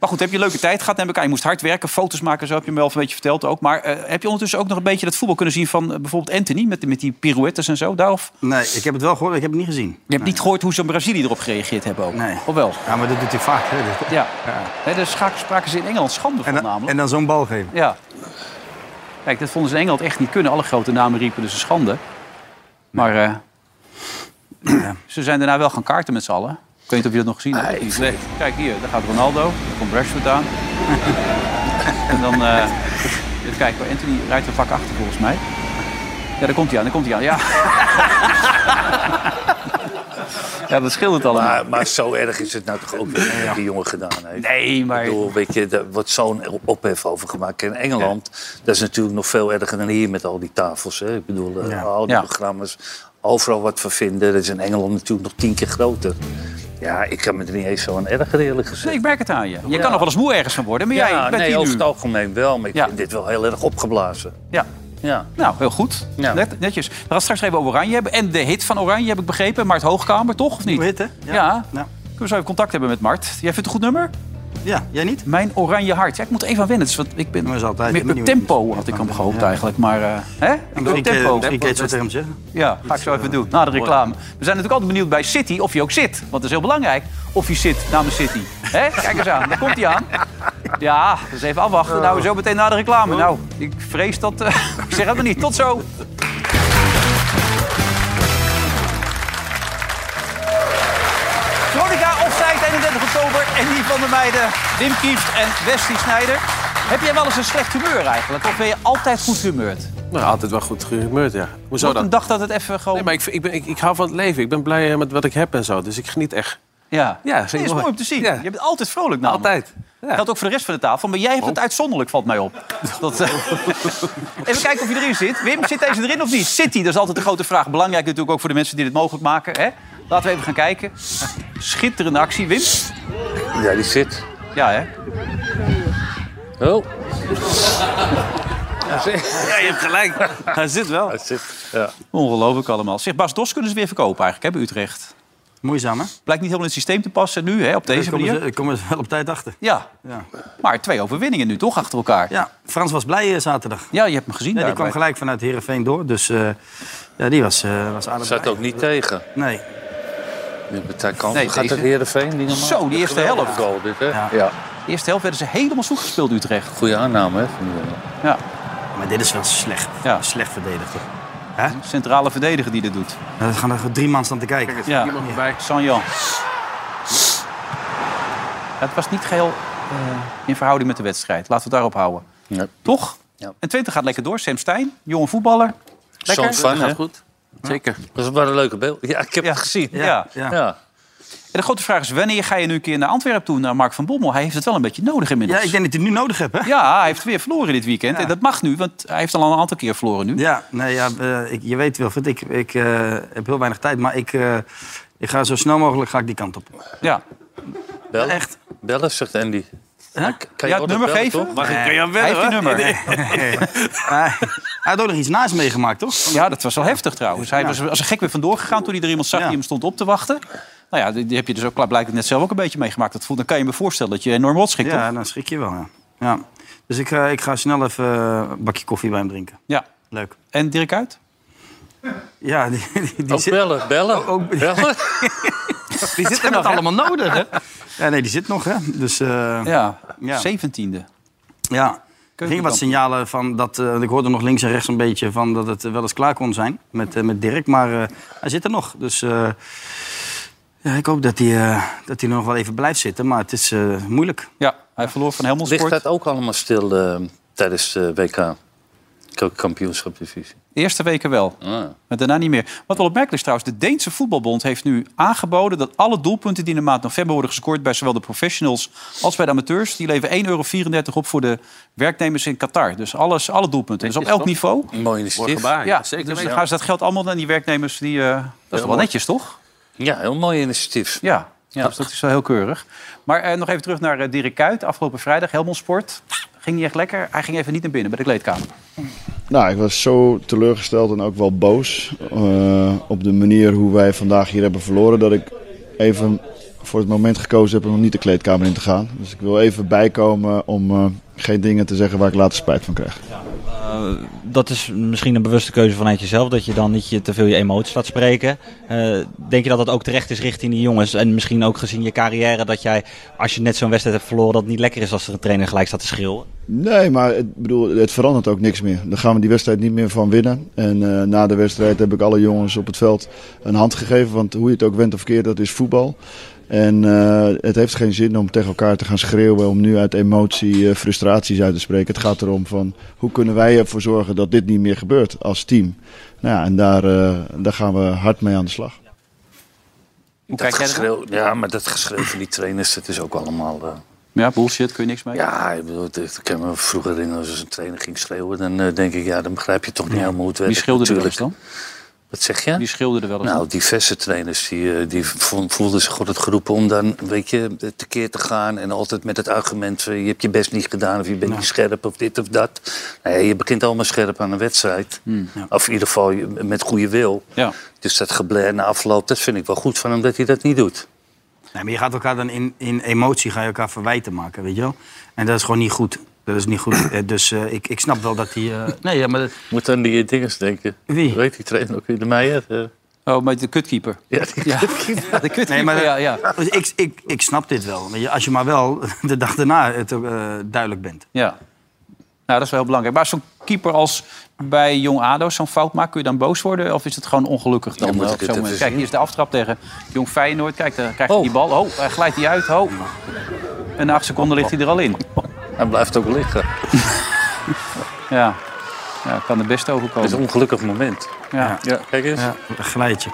B: Maar goed, heb je een leuke tijd gehad? Neem ik aan. Je moest hard werken, foto's maken, zo heb je me wel een beetje verteld ook. Maar eh, heb je ondertussen ook nog een beetje dat voetbal kunnen zien van eh, bijvoorbeeld Anthony met, met die pirouettes en zo? Daarof?
C: Nee, ik heb het wel gehoord, ik heb het niet gezien. Je hebt
B: niet gehoord hoe ze in Brazilië erop gereageerd hebben ook. Of wel?
C: Ja, maar dat doet hij vaak.
B: Ja. Hè, daar scha- spraken ze in Engeland schande van namelijk.
C: En dan zo'n bal geven.
B: Ja. Kijk, dat vonden ze in Engeland echt niet kunnen. Alle grote namen riepen dus een schande. Maar eh, ze zijn daarna wel gaan kaarten met z'n allen. Ik weet niet of je dat nog gezien hebt. Nee. Kijk hier, daar gaat Ronaldo. Daar komt Rashford aan. en dan... eh even kijken, hoor. Anthony rijdt er vak achter volgens mij. Ja, daar komt hij aan, daar komt hij aan. Ja. ja, dat scheelt het allemaal.
E: Maar, maar zo erg is het nou toch ook niet, wat die jongen gedaan heeft.
B: Nee, maar...
E: Ik bedoel, weet je, daar wordt zo'n ophef over gemaakt. In Engeland, dat is natuurlijk nog veel erger dan hier met al die tafels. Hè. Ik bedoel, eh,
B: Ja.
E: al die
B: Ja.
E: programma's, overal wat van vinden. Dat is in Engeland natuurlijk nog tien keer groter. Ja, ik kan me er niet eens zo aan ergeren, eerlijk gezegd.
B: Nee, ik merk het aan je. Je kan nog wel eens moe ergens van worden, maar
E: ja,
B: jij bent
E: nee,
B: hier
E: over
B: nu.
E: het algemeen wel. Maar ik vind dit wel heel erg opgeblazen.
B: Ja.
E: Ja.
B: Nou, heel goed. Net, netjes. We gaan het straks even over Oranje hebben. En de hit van Oranje, heb ik begrepen. Mart Hoogkamer, toch? Of niet? Hit, hè? Ja. Kunnen we zo even contact hebben met Mart. Jij vindt het een goed nummer?
C: Ja, jij niet?
B: Mijn Oranje Hart. Ja, ik moet er even aan wennen. Dus wat, ik ben
C: altijd,
B: meer
C: ik ben
B: per
C: niet-
B: tempo, had ik hem gehoopt eigenlijk. Maar, eh, hè? Ik wil
C: Misschien kun je-
B: tempo.
C: misschien kun je het zo tegen hem zeggen.
B: Ja, ga ik zo even doen. Na de reclame. We zijn natuurlijk altijd benieuwd bij City of je ook zit. Want dat is heel belangrijk. Of je zit namens City. Hè? Kijk eens aan, daar komt hij aan. Ja, dus even afwachten. Nou, zo meteen na de reclame. Nou, ik vrees dat... eh, ik zeg het maar niet. Tot zo. Veronica Offside 31 oktober. En die van de meiden Wim Kieft en Westie Snijder. Heb jij wel eens een slecht humeur eigenlijk? Of ben je altijd goed humeurd?
D: Nou, altijd wel goed gehumeurd, ja. Hoezo
B: Wat
D: dan?
B: een dag dat het even gewoon...
D: Nee, maar ik, ik, ben, ik, ik hou van het leven. Ik ben blij eh, met wat ik heb en zo. Dus ik geniet echt.
B: Ja,
D: Ja,
B: ja
D: vind
B: dat
D: ik
B: is
D: mooi.
B: mooi om te zien. Je bent altijd vrolijk namelijk.
D: Altijd.
B: Geldt ook voor de rest van de tafel, maar jij hebt het uitzonderlijk, valt mij op. Dat, eh, Even kijken of je erin zit. Wim, zit deze erin of niet? City, dat is altijd de grote vraag. Belangrijk natuurlijk ook voor de mensen die dit mogelijk maken. Hè? Laten we even gaan kijken. Schitterende actie, Wim.
E: Ja, die zit.
B: Ja, hè?
D: Oh. Ja, je hebt gelijk. Hij zit wel. Hij
E: zit, ja.
B: Ongelooflijk allemaal. Zeg, Bas Dos kunnen ze weer verkopen eigenlijk, hè, bij Utrecht.
C: Moeizaam, hè?
B: Blijkt niet helemaal in het systeem te passen nu, hè, op deze
C: Daar komen
B: manier.
C: ze- daar komen ze eh, wel op tijd achter.
B: Ja. maar twee overwinningen nu toch achter elkaar.
C: Ja, Frans was blij eh, zaterdag.
B: Ja, je hebt hem gezien
C: die
B: daarbij.
C: kwam gelijk vanuit Heerenveen door, dus eh, ja, die was, eh was aardig
E: Zat
C: blij.
E: ook niet tegen.
C: Nee.
E: Nu partij kan.
B: Nee,
E: gaat
B: deze-
E: het Heerenveen niet normaal.
B: Zo, die eerste
E: Geweldige
B: helft.
E: Goal, dit, hè? Ja.
B: De eerste helft werden ze helemaal zoek gespeeld, Utrecht.
E: Goeie aanname, hè? van die jongen.
B: Ja.
C: Maar dit is wel slecht. Slecht verdedigd.
B: Centrale verdediger die dit doet.
C: Er gaan er drie man staan te kijken.
B: Ja, bij Sanjan. Het was niet geheel eh, in verhouding met de wedstrijd. Laten we het daarop houden. Toch? En Twente gaat lekker door. Sam Stein, jonge voetballer. Lekker.
E: Zo'n fan, hè?
D: goed. Zeker.
E: Dat was een leuke beeld. Ja, ik heb het gezien.
B: Ja. Ja. En de grote vraag is, wanneer ga je nu een keer naar Antwerpen toe, naar Mark van Bommel? Hij heeft het wel een beetje nodig inmiddels.
C: Ja, ik denk dat hij het nu nodig hebt, hè?
B: Ja, hij heeft weer verloren dit weekend. En dat mag nu, want hij heeft al een aantal keer verloren nu.
C: Ja, nee, ja eh, ik, je weet Wilfried, ik, ik eh, heb heel weinig tijd, maar ik, eh, ik ga zo snel mogelijk ga ik die kant op. Eh,
B: Ja.
E: Bel,
C: Echt?
E: Bellen, zegt Andy. Maar k- Kan
C: Ja,
E: ook
C: het nummer
E: nog bellen,
C: geven?
E: toch?
C: Mag ik- Nee, kan je hem hij wedden, heeft die hoor? nummer. Nee. Hij had ook nog iets naast meegemaakt, toch?
B: Ja, dat was wel heftig trouwens. Hij was als een gek weer vandoor gegaan toen hij er iemand zag die hem stond op te wachten. Nou ja, die, die heb je dus ook blijkbaar net zelf ook een beetje meegemaakt. Dat voelt, dan kan je me voorstellen dat je enorm rot schikt,
C: ja,
B: toch?
C: dan schrik je wel, ja. ja. Dus ik, ga- ik ga snel even eh, een bakje koffie bij hem drinken.
B: Ja.
C: Leuk.
B: En Dirk Uit?
C: Ja, die, die,
B: Oh.
C: die
E: Ook
C: zit...
E: bellen, bellen. bellen.
C: Die
B: zit er nog, hè?
C: nodig, hè? Ja, nee, die zit nog, hè? Dus, eh,
B: Ja, 17e.
C: Ja, er gingen wat
B: Keukenkampioen.
C: signalen van dat... eh, want ik hoorde nog links en rechts een beetje van dat het eh, wel eens klaar kon zijn met, eh, met Dirk. Maar eh, hij zit er nog. Dus eh, ja, ik hoop dat hij, eh, dat hij er nog wel even blijft zitten. Maar het is eh, moeilijk.
B: Ja, hij verloor van
E: Ligt
B: Helmond
E: dat ook allemaal stil eh, tijdens de WK? K- Kampioenschapdivisie.
B: De eerste weken wel,
E: Ah.
B: maar daarna niet meer. Wat wel opmerkelijk is trouwens, de Deense voetbalbond heeft nu aangeboden... dat alle doelpunten die in de maand november worden gescoord... bij zowel de professionals als bij de amateurs... die leveren 1,34 euro op voor de werknemers in Qatar. Dus alles, alle doelpunten. Dus op elk niveau.
E: Mooi initiatief.
B: Ja, dus dan gaan ze dat geld allemaal naar die werknemers. Die, eh, dat is wel
E: mooi.
B: netjes, toch?
E: Ja, heel mooi initiatief.
B: Ja, dus dat is wel heel keurig. Maar eh, nog even terug naar eh, Dirk Kuyt. Afgelopen vrijdag, Helmond Sport. Ging niet echt lekker. Hij ging even niet naar binnen bij de kleedkamer.
U: Nou, ik was zo teleurgesteld en ook wel boos eh, op de manier hoe wij vandaag hier hebben verloren. Dat ik even voor het moment gekozen heb om nog niet de kleedkamer in te gaan. Dus ik wil even bijkomen om eh, geen dingen te zeggen waar ik later spijt van krijg.
V: Eh,
A: Nou, dat is misschien een bewuste keuze vanuit jezelf. Dat je dan niet je, te veel je emoties laat spreken. Eh, denk je dat dat ook terecht is richting die jongens? En misschien ook gezien je carrière dat jij, als je net zo'n wedstrijd hebt verloren, dat het niet lekker is als er een trainer gelijk staat te schreeuwen?
U: Nee, maar het, bedoel, het verandert ook niks meer. Daar gaan we die wedstrijd niet meer van winnen. En eh, na de wedstrijd heb ik alle jongens op het veld een hand gegeven. Want hoe je het ook went of keert, dat is voetbal. En eh, het heeft geen zin om tegen elkaar te gaan schreeuwen. Om nu uit emotie eh, frustraties uit te spreken. Het gaat erom van hoe kunnen wij ervoor zorgen dat dit niet meer gebeurt als team. Nou ja, en daar, eh, daar gaan we hard mee aan de slag.
E: Dat geschreeuw, ja, maar dat geschreeuw van die trainers, dat is ook allemaal... eh,
B: Ja, bullshit, kun je niks mee.
E: Ja, ik, bedoel, ik ik kan me vroeger herinneren als een trainer ging schreeuwen. Dan eh, denk ik, ja, dan begrijp je toch niet helemaal hoe het werkt.
B: Wie schilderde er wel eens
E: natuurlijk.
B: dan?
E: Wat zeg je?
B: Die schilderde wel eens
E: Nou,
B: dan?
E: diverse trainers die, eh, die vo- voelden zich goed geroepen om dan weet je, tekeer te gaan. En altijd met het argument, eh, je hebt je best niet gedaan of je bent niet scherp of dit of dat. Nee, je begint allemaal scherp aan een wedstrijd. Of in ieder geval je- met goede wil.
B: Ja.
E: Dus dat gebler na afloop, dat vind ik wel goed van hem dat hij dat niet doet.
C: Nee, maar je gaat elkaar dan in, in emotie ga je elkaar verwijten maken, weet je wel? En dat is gewoon niet goed. Dat is niet goed. Eh, Dus eh, ik, ik snap wel dat die... eh, nee, ja, maar...
E: Moet aan die dingers denken.
C: Wie?
E: Weet die trainer ook weer, de Meijer? Eh,
B: Oh, maar de kutkeeper.
E: Ja,
B: Ja. de kutkeeper,
C: Nee, maar
B: ja, ja.
C: Dus Ik, ik, ik snap dit wel. Weet je, Als je maar wel de dag daarna het, ook, eh, duidelijk bent.
B: Ja. Nou, dat is wel heel belangrijk. Maar zo'n keeper als bij Jong ADO zo'n fout maakt, kun je dan boos worden? Of is het gewoon ongelukkig dan?
E: Dan moet
B: eh, op
E: ik het
B: zo'n
E: even
B: moment? Kijk,
E: zien.
B: hier is de aftrap tegen Jong Feyenoord. Kijk, dan krijgt hij die bal. Oh, hij glijdt hij uit. Oh. En na acht seconden ligt hij er al in.
E: Hij blijft ook liggen.
B: ja. ja, kan er best overkomen.
E: Het is een ongelukkig moment.
B: Ja.
E: kijk eens.
C: Ja, een glijtje.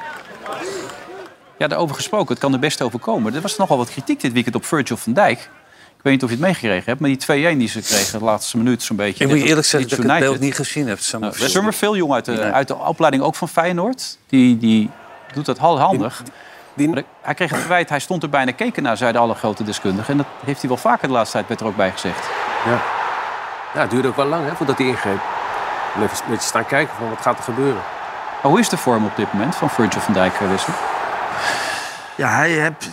B: Ja, daarover gesproken, het kan er best overkomen. Er was nogal wat kritiek dit weekend op Virgil van Dijk. Ik weet niet of je het meegekregen hebt, maar die 2-1 die ze kregen de laatste minuut zo'n beetje.
E: Ik moet je
B: Dit-
E: eerlijk zeggen
B: dit
E: dat ik het
B: United.
E: beeld niet gezien heb. Summerfield.
B: Nou, Summerfield, jong uit de,
E: Nee.
B: uit de opleiding ook van Feyenoord. Die, die doet dat hal- handig. Maar de- hij kreeg het verwijt, hij stond er bijna keken naar, zeiden alle grote deskundigen. En dat heeft hij wel vaker de laatste tijd, werd er ook bij gezegd.
D: Ja. ja, het duurde ook wel lang hè, voordat hij ingreep. En even een beetje staan kijken van wat gaat er gebeuren.
B: Maar hoe is de vorm op dit moment van Virgil van Dijk, eh, Wessel?
C: Ja, hij heeft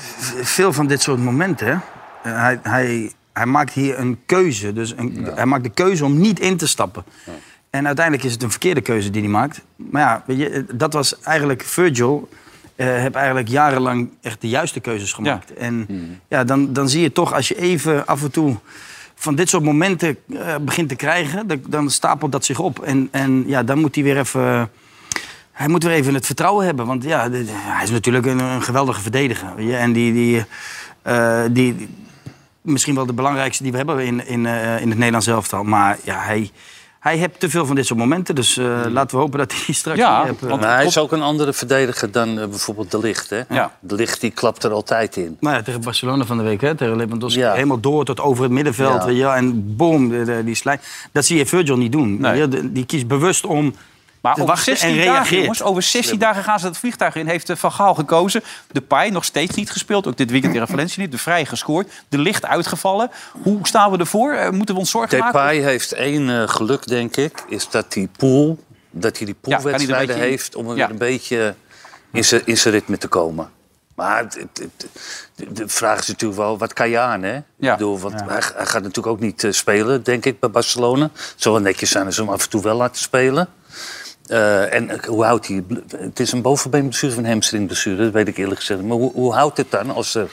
C: veel van dit soort momenten. hè. Eh, Hij, hij, hij maakt hier een keuze. Dus een, Hij maakt de keuze om niet in te stappen. En uiteindelijk is het een verkeerde keuze die hij maakt. Maar ja, weet je, eh, dat was eigenlijk Virgil. eh heb eigenlijk jarenlang echt de juiste keuzes gemaakt. En ja, dan, dan zie je toch als je even af en toe van dit soort momenten eh, begint te krijgen, dan, dan stapelt dat zich op. En, en ja, dan moet hij weer even. Hij moet weer even het vertrouwen hebben. Want ja, de- de- hij is natuurlijk een, een geweldige verdediger. weet je. En die, die, eh, die, die- misschien wel de belangrijkste die we hebben in, in, eh, in het Nederlands elftal. Maar ja, hij, hij heeft te veel van dit soort momenten. Dus eh, laten we hopen dat hij straks... weer hebt, eh.
E: maar hij is ook een andere verdediger dan eh, bijvoorbeeld De Licht. Hè?
C: Ja.
E: De Licht die klapt er altijd in.
C: Nou ja, tegen Barcelona van de week, hè? tegen Lewandowski. Helemaal door tot over het middenveld.
E: Ja.
C: weet je wel. en boom, de- de- die slijt. Dat zie je Virgil niet doen. weet je wel. De- Die kiest bewust om
B: Maar
C: te
B: over
C: wachten
B: 16
C: en
B: dagen,
C: reageert.
B: jongens, over 16 dagen gaan ze het vliegtuig in. Heeft eh, Van Gaal gekozen. De Pai nog steeds niet gespeeld. Ook dit weekend tegen Valencia niet. De Vrij gescoord. De Licht uitgevallen. Hoe staan we ervoor? Eh, Moeten we ons zorgen maken?
E: Depay heeft één eh, geluk, denk ik. Is dat die pool, dat hij die
B: Ja, kan hij er een
E: poolwedstrijden
B: beetje in?
E: heeft... om er
B: Ja.
E: een beetje in zijn- in zijn ritme te komen. Maar het- het- het- de- de vraag is natuurlijk wel, wat kan je aan, hè? Ik bedoel, want hij, hij gaat natuurlijk ook niet eh, spelen, denk ik, bij Barcelona. Het zal wel netjes zijn als ze hem af en toe wel laten spelen. Eh, en eh, hoe houdt hij... het bl- Het is een bovenbeenblessure of een hamstringblessure, dat weet ik eerlijk gezegd. Maar hoe, hoe houdt het dan als, er,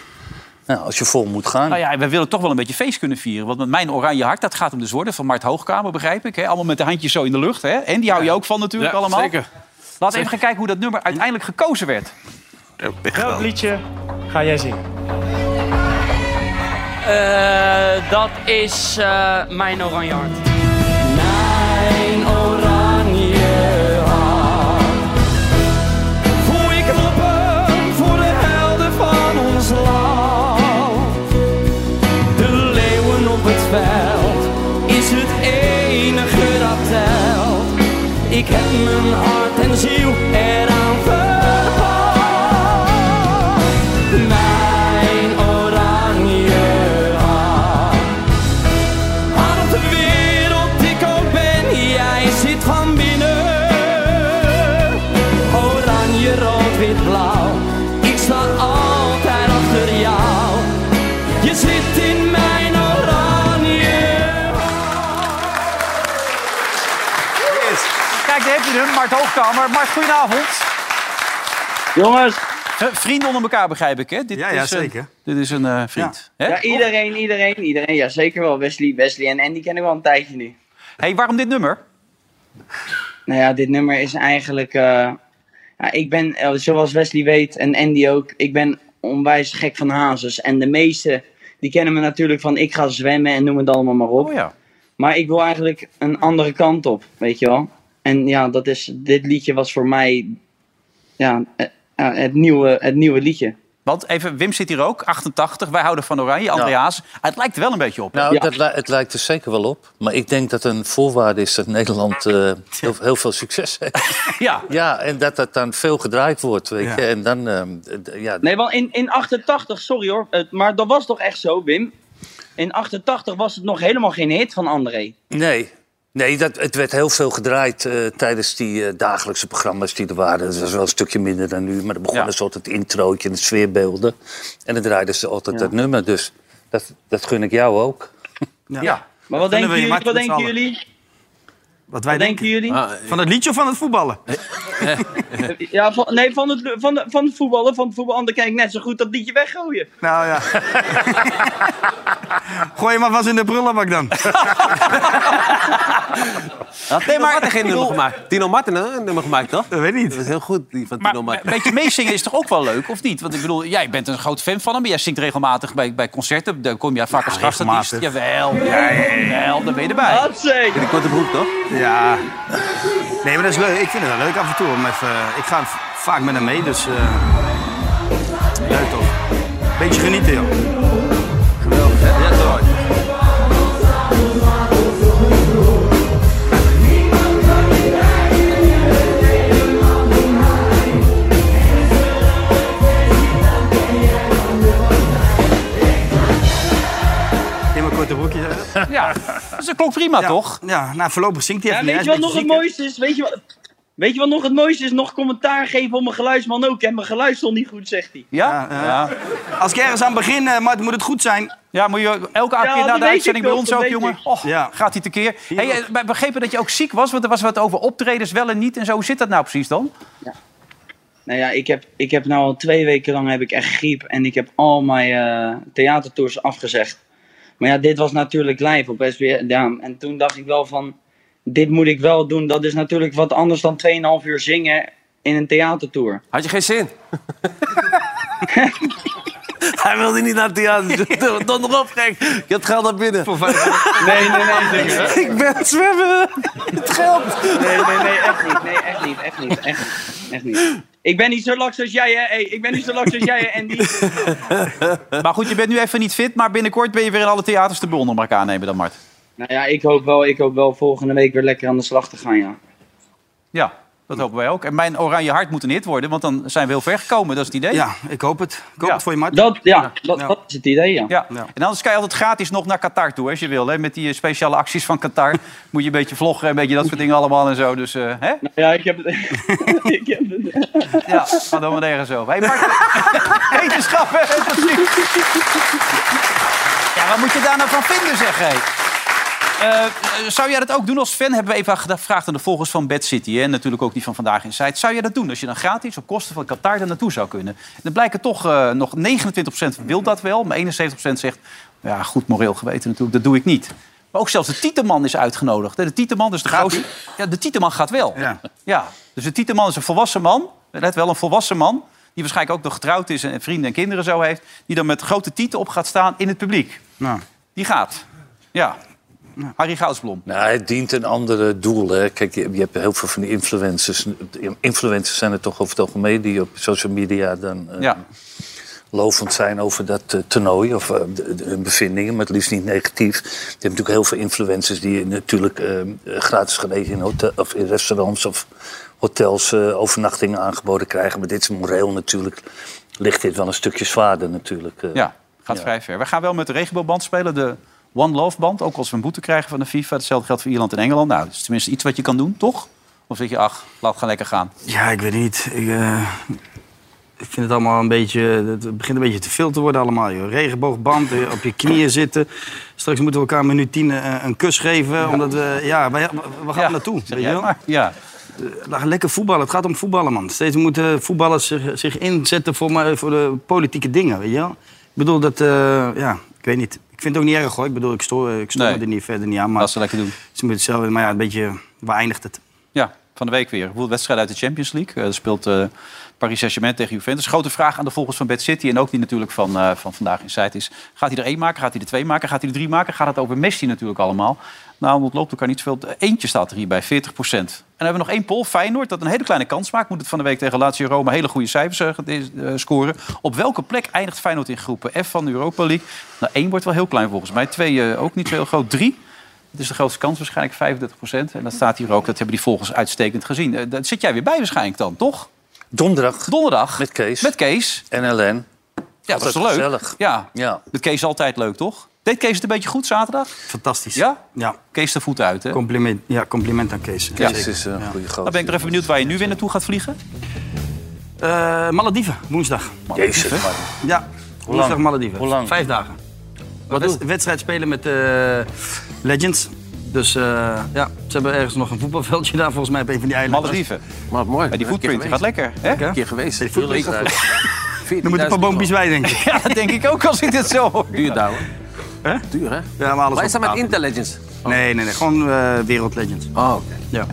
E: nou, als je vol moet gaan?
B: Nou ja, we willen toch wel een beetje feest kunnen vieren. Want met mijn oranje hart, dat gaat hem dus worden. Van Mart Hoogkamer, begrijp ik. Hè? Allemaal met de handjes zo in de lucht. Hè? En die hou je ook van natuurlijk
H: Ja,
B: allemaal.
H: zeker.
B: Laten we even gaan kijken hoe dat nummer uiteindelijk gekozen werd.
V: Welk liedje ga jij zingen?
W: Eh, dat is eh, mijn oranje hart.
M: Mijn oranje hart. Voel ik kloppen voor de helden van ons land. De leeuwen op het veld is het enige dat telt. Ik heb mijn hart en ziel eraan verpand. Mijn oranje hart. Aan de wereld ik ook ben, jij zit van binnen. Oranje, rood, wit, blauw, ik sta altijd achter jou. Je zit in mijn oranje.
B: Medium, Mart Hoogkamer. Mart, goedenavond. Jongens. Vrienden onder elkaar begrijp ik, hè? Dit
C: Ja, ja,
B: is een-
C: zeker.
B: dit is een eh, vriend. Hè?
F: Ja, iedereen, iedereen, iedereen. Ja, zeker wel. Wesley, Wesley en Andy ken ik wel een tijdje nu.
B: hey, waarom dit nummer?
F: Nou ja, dit nummer is eigenlijk... eh, ja, ik ben, eh, zoals Wesley weet en Andy ook, ik ben onwijs gek van hazes. En de meesten, die kennen me natuurlijk van ik ga zwemmen en noem het allemaal maar
B: Oh
F: op. Maar ik wil eigenlijk een andere kant op, weet je wel. En ja, dat is, dit liedje was voor mij ja, eh, ja, het, nieuwe, het nieuwe liedje.
B: Want even, Wim zit hier ook, 88. Wij houden van Oranje, André Haas. Het lijkt er wel een beetje op. hè?
E: Nou, dat li- het lijkt er zeker wel op. Maar ik denk dat een voorwaarde is dat Nederland eh, heel, heel veel succes heeft.
B: ja.
E: ja, en dat dat dan veel gedraaid wordt. Weet je. En dan, ehm, d- d- ja,
F: Nee, want in, in 88, sorry hoor, het- maar dat was toch echt zo, Wim? In 88 was het nog helemaal geen hit van André.
E: Nee. Nee, dat, het werd heel veel gedraaid eh, tijdens die eh, dagelijkse programma's die er waren. Dat was wel een stukje minder dan nu, maar er begon een soort het introotje en de sfeerbeelden. En dan draaiden ze altijd dat nummer, dus dat, dat gun ik jou ook.
C: Ja.
F: Maar wat
C: Gunnen
F: denken
C: we je,
F: jullie?
C: Mart,
F: Wat
C: met z'n
F: denken
C: allen.
F: jullie?
C: Wat wij Ah,
F: Wat denken jullie?
C: Van het liedje of van het voetballen?
F: Ja, van, nee, van het, van, de, van het voetballen, van het voetballen, dan kan ik net zo goed dat liedje weggooien.
C: Nou ja. Gooi hem alvast in de prullenbak dan.
D: Had nee, maar geen nummer gemaakt. Tino Martin hè, een nummer gemaakt, toch?
C: Dat weet niet.
D: Dat is heel goed, die van Tino
B: Maar een
D: Martin.
B: beetje meezingen is toch ook wel leuk, of niet? Want ik bedoel, jij bent een groot fan van hem. Jij zingt regelmatig bij, bij concerten. Daar kom je vaak als gastartiest. Jawel, jawel, daar ben je erbij.
F: Dat zeker.
B: In de korte broek, toch?
C: Ja. Nee, maar dat is leuk. Ik vind het wel leuk af en toe. Om even, ik ga v- vaak met hem mee, dus... eh leuk toch? Beetje genieten, joh. Geweldig, hè? Ja, toch. In mijn korte broekje.
B: Ja, dus dat klopt prima, toch?
C: Ja, nou, voorlopig zingt hij
F: Ja,
C: even
F: weet
C: niet.
F: je
C: Hij
F: wat
C: is
F: nog
C: een
F: het mooiste is? Weet je wat, weet je wat nog het mooiste is? Nog commentaar geven op mijn geluidsman ook. En mijn geluid stond niet goed, zegt hij.
B: Ja?
C: beetje ziek, hè? Als ik ergens aan begin, eh Mart, moet het goed zijn.
B: Ja, moet je elke
C: Ja,
B: keer na
C: dat
B: de
C: weet
B: uitzending
C: ik
B: bij
C: ook,
B: ons
C: dat
B: ook,
C: weet
B: jongen.
C: ik.
B: Och, gaat hij tekeer. Hey, eh, we begrepen dat je ook ziek was, want er was wat over optredens wel en niet. En zo hoe zit dat nou precies dan?
F: Nou ja, ik heb, ik heb nou al twee weken lang heb ik echt griep. En ik heb al mijn eh, theatertours afgezegd. Maar ja, dit was natuurlijk live op SBR. Ja, en toen dacht ik wel van, dit moet ik wel doen. Dat is natuurlijk wat anders dan 2,5 uur zingen in een theatertour.
D: Had je geen zin? Hij wilde niet naar het theater. Dan nog op, gek. Je hebt geld naar binnen.
F: Nee, nee, nee, nee, nee.
D: Ik ben aan het zwemmen. Het geld.
F: Nee, nee, nee, echt niet. Nee, echt niet, echt niet, echt niet. Echt niet. Ik ben niet zo laks als jij, hè. Hey, ik ben niet zo laks als jij, hè, Andy.
B: maar goed, je bent nu even niet fit, maar binnenkort ben je weer in alle theaters te beonden, maar aannemen dan, Mart.
F: Nou ja, ik hoop, wel, ik hoop wel volgende week weer lekker aan de slag te gaan, ja.
B: Ja, dat hopen wij ook. En mijn oranje hart moet een hit worden, want dan zijn we heel ver gekomen. Dat is het idee.
C: Ja, ik hoop het. Ik hoop het voor je, Mart.
F: Dat, ja, dat, is het idee, ja.
B: En anders kan je altijd gratis nog naar Qatar toe, hè, als je wil. Hè? Met die eh, speciale acties van Qatar moet je een beetje vloggen en een beetje dat soort dingen allemaal en zo. Dus, eh, hè?
F: ja, ik heb het... ik heb het...
B: ja, ga dan maar nergens over. Hey, Mart, wetenschappen, Ja, wat moet je daar nou van vinden, zeg hé? Eh, zou jij dat ook doen als fan? Hebben we even gevraagd aan de volgers van Bad City. hè, En natuurlijk ook die van Vandaag in Zuid. Zou jij dat doen als je dan gratis op kosten van Qatar daar naartoe zou kunnen? Dan blijken toch eh, nog 29% wil dat wel. Maar 71% zegt, ja, goed moreel geweten natuurlijk, dat doe ik niet. Maar ook zelfs de Tieteman is uitgenodigd. hè. De Tieteman is de grootste... Ja, de Tieteman gaat wel. Ja. Dus de Tieteman is een volwassen man. Let wel, een volwassen man. Die waarschijnlijk ook nog getrouwd is en vrienden en kinderen zo heeft. Die dan met grote tieten op gaat staan in het publiek.
C: Nou.
B: Die gaat. Ja. Harry Goudsblom.
E: Nou, het dient een ander doel. Hè. Kijk, je, je hebt heel veel van die influencers. Influencers zijn er toch over het algemeen die op social media dan eh,
B: Ja.
E: lovend zijn over dat eh, toernooi of eh, de- de- hun bevindingen, maar het liefst niet negatief. Je hebt natuurlijk heel veel influencers die natuurlijk eh, gratis gelegen in, hotel, of in restaurants of hotels eh, overnachtingen aangeboden krijgen. Maar dit is moreel natuurlijk, ligt dit wel een stukje zwaarder natuurlijk. eh.
B: Ja, gaat
E: Ja.
B: vrij ver. We gaan wel met de regenboogband spelen, de One Love band. Ook als we een boete krijgen van de FIFA. Hetzelfde geldt voor Ierland en Engeland. Nou, dat is tenminste iets wat je kan doen, toch? Of zeg je, ach, laat gaan lekker gaan.
C: Ja, ik weet niet. Ik, eh, ik vind het allemaal een beetje... Het begint een beetje te veel te worden allemaal, joh. Regenboogband, eh, op je knieën zitten. Straks moeten we elkaar minuut tien eh, een kus geven. Omdat we... Ja, waar, waar gaan we naartoe? Weet je wel?
B: Ja.
C: eh, lekker voetballen. Het gaat om voetballen, man. Steeds moeten voetballers zich, zich inzetten voor, maar- voor de politieke dingen, weet je wel? Ik bedoel, dat... eh, ja, ik weet niet. Ik vind het ook niet erg, hoor. Ik bedoel, ik stoor, ik stoor
B: Nee.
C: me er niet, verder niet aan. Maar
B: Laat ze lekker doen.
C: Ze moeten zelf... Maar ja, een beetje... Waar eindigt het?
B: Ja, van de week weer. Hoeveel wedstrijden uit de Champions League? Eh, Er speelt eh, Paris Saint-Germain tegen Juventus. Grote vraag aan de volgers van Bad City en ook die natuurlijk van, eh, van vandaag in site is. Gaat hij er één maken? Gaat hij er twee maken? Gaat hij er drie maken? Gaat het over Messi natuurlijk allemaal? Nou, het loopt elkaar niet veel. Eentje staat er hier bij, 40 En dan hebben we nog één poll. Feyenoord, dat een hele kleine kans maakt. Moet het van de week tegen Lazio Roma hele goede cijfers eh, gede- eh, scoren. Op welke plek eindigt Feyenoord in groepen F van de Europa League? Nou, één wordt wel heel klein volgens mij. Twee eh, ook niet zo heel groot. Drie het is de grootste kans waarschijnlijk, 35 En dat staat hier ook. Dat hebben die volgers uitstekend gezien. Eh, Daar zit jij weer bij waarschijnlijk dan, toch?
E: Donderdag.
B: Donderdag.
E: Met Kees.
B: Met Kees.
E: En LN.
B: Ja, dat is
E: Altijd
B: toch leuk?
E: gezellig.
B: Ja.
E: Ja.
B: Met Kees altijd leuk, toch? Deed Kees het een beetje goed zaterdag?
C: Fantastisch.
B: Ja?
C: Ja.
B: Kees de voet uit, hè?
C: Compliment, ja, compliment aan Kees.
B: Ja.
C: Zeker.
B: Is, eh,
C: Ja.
B: Dan ben ik er even benieuwd waar je nu weer naartoe gaat vliegen.
C: Eh, Malediven, woensdag.
B: Jezus,
C: Malediven.
B: man.
C: Ja,
B: Hoe
C: woensdag
B: lang?
C: Malediven.
B: Hoe lang?
C: Vijf dagen. Wat wedstrijd spelen met eh, Legends. Dus eh, ja, ze hebben ergens nog een voetbalveldje daar volgens mij op een van die eilanden.
B: Malediven.
D: Maar mooi.
B: die footprint die gaat lekker. Hè?
C: Een keer
D: geweest.
C: Die footprint.
D: Tuurlijk.
C: Dan moet een paar boompjes bij, denk ik.
B: Ja, dat denk ik ook als ik dit zo hoor.
D: Duur douwen.
C: Hè?
D: Duur, hè? Ah.
C: Ja, maar alles
D: Wij staan met
C: op tafel.
D: Interlegends.
C: Nee, nee, nee. Gewoon eh, Wereld Legends.
D: Oh, oké.
C: Ja.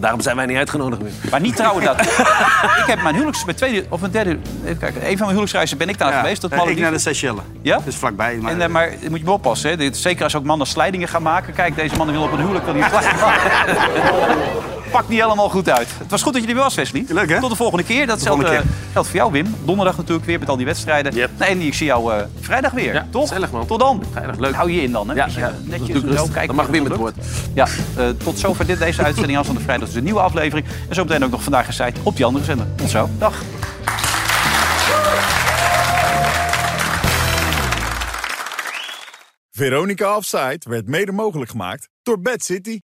D: Daarom zijn wij niet uitgenodigd meer.
B: Maar niet trouwen dat. ik heb mijn huwelijks... Mijn tweede of mijn derde... Even kijken. Een van mijn huwelijksreizen ben ik daar
C: Ja,
B: geweest. Tot
C: eh, ik
B: Malediven.
C: naar de Seychelles.
B: Ja?
C: Dus vlakbij. Maar,
B: En, eh, maar moet je me oppassen, hè? Dit, zeker als ook mannen slijdingen gaan maken. Kijk, deze mannen willen op een huwelijk. Wil die Pakt niet helemaal goed uit. Het was goed dat je er weer was, Wesley. Leuk, hè? Tot de volgende keer. Datzelfde
D: volgende
B: geldt voor jou, Wim. Donderdag natuurlijk weer met al die wedstrijden. Nee, en ik zie jou eh, vrijdag weer, toch? Gezellig, man. Tot dan. Vrijdag, leuk. Hou je in dan, hè? Ja, netjes en zo. Kijken
D: Dan mag
B: of het
D: Wim
B: lukt.
D: het woord.
B: Ja, eh, tot zover dit, deze uitzending. Aanstaande vrijdag dus een nieuwe aflevering. En zo meteen ook nog vandaag gezegd op die andere zender. Tot zo. Dag.
G: Veronica Offside werd mede mogelijk gemaakt door Bad City.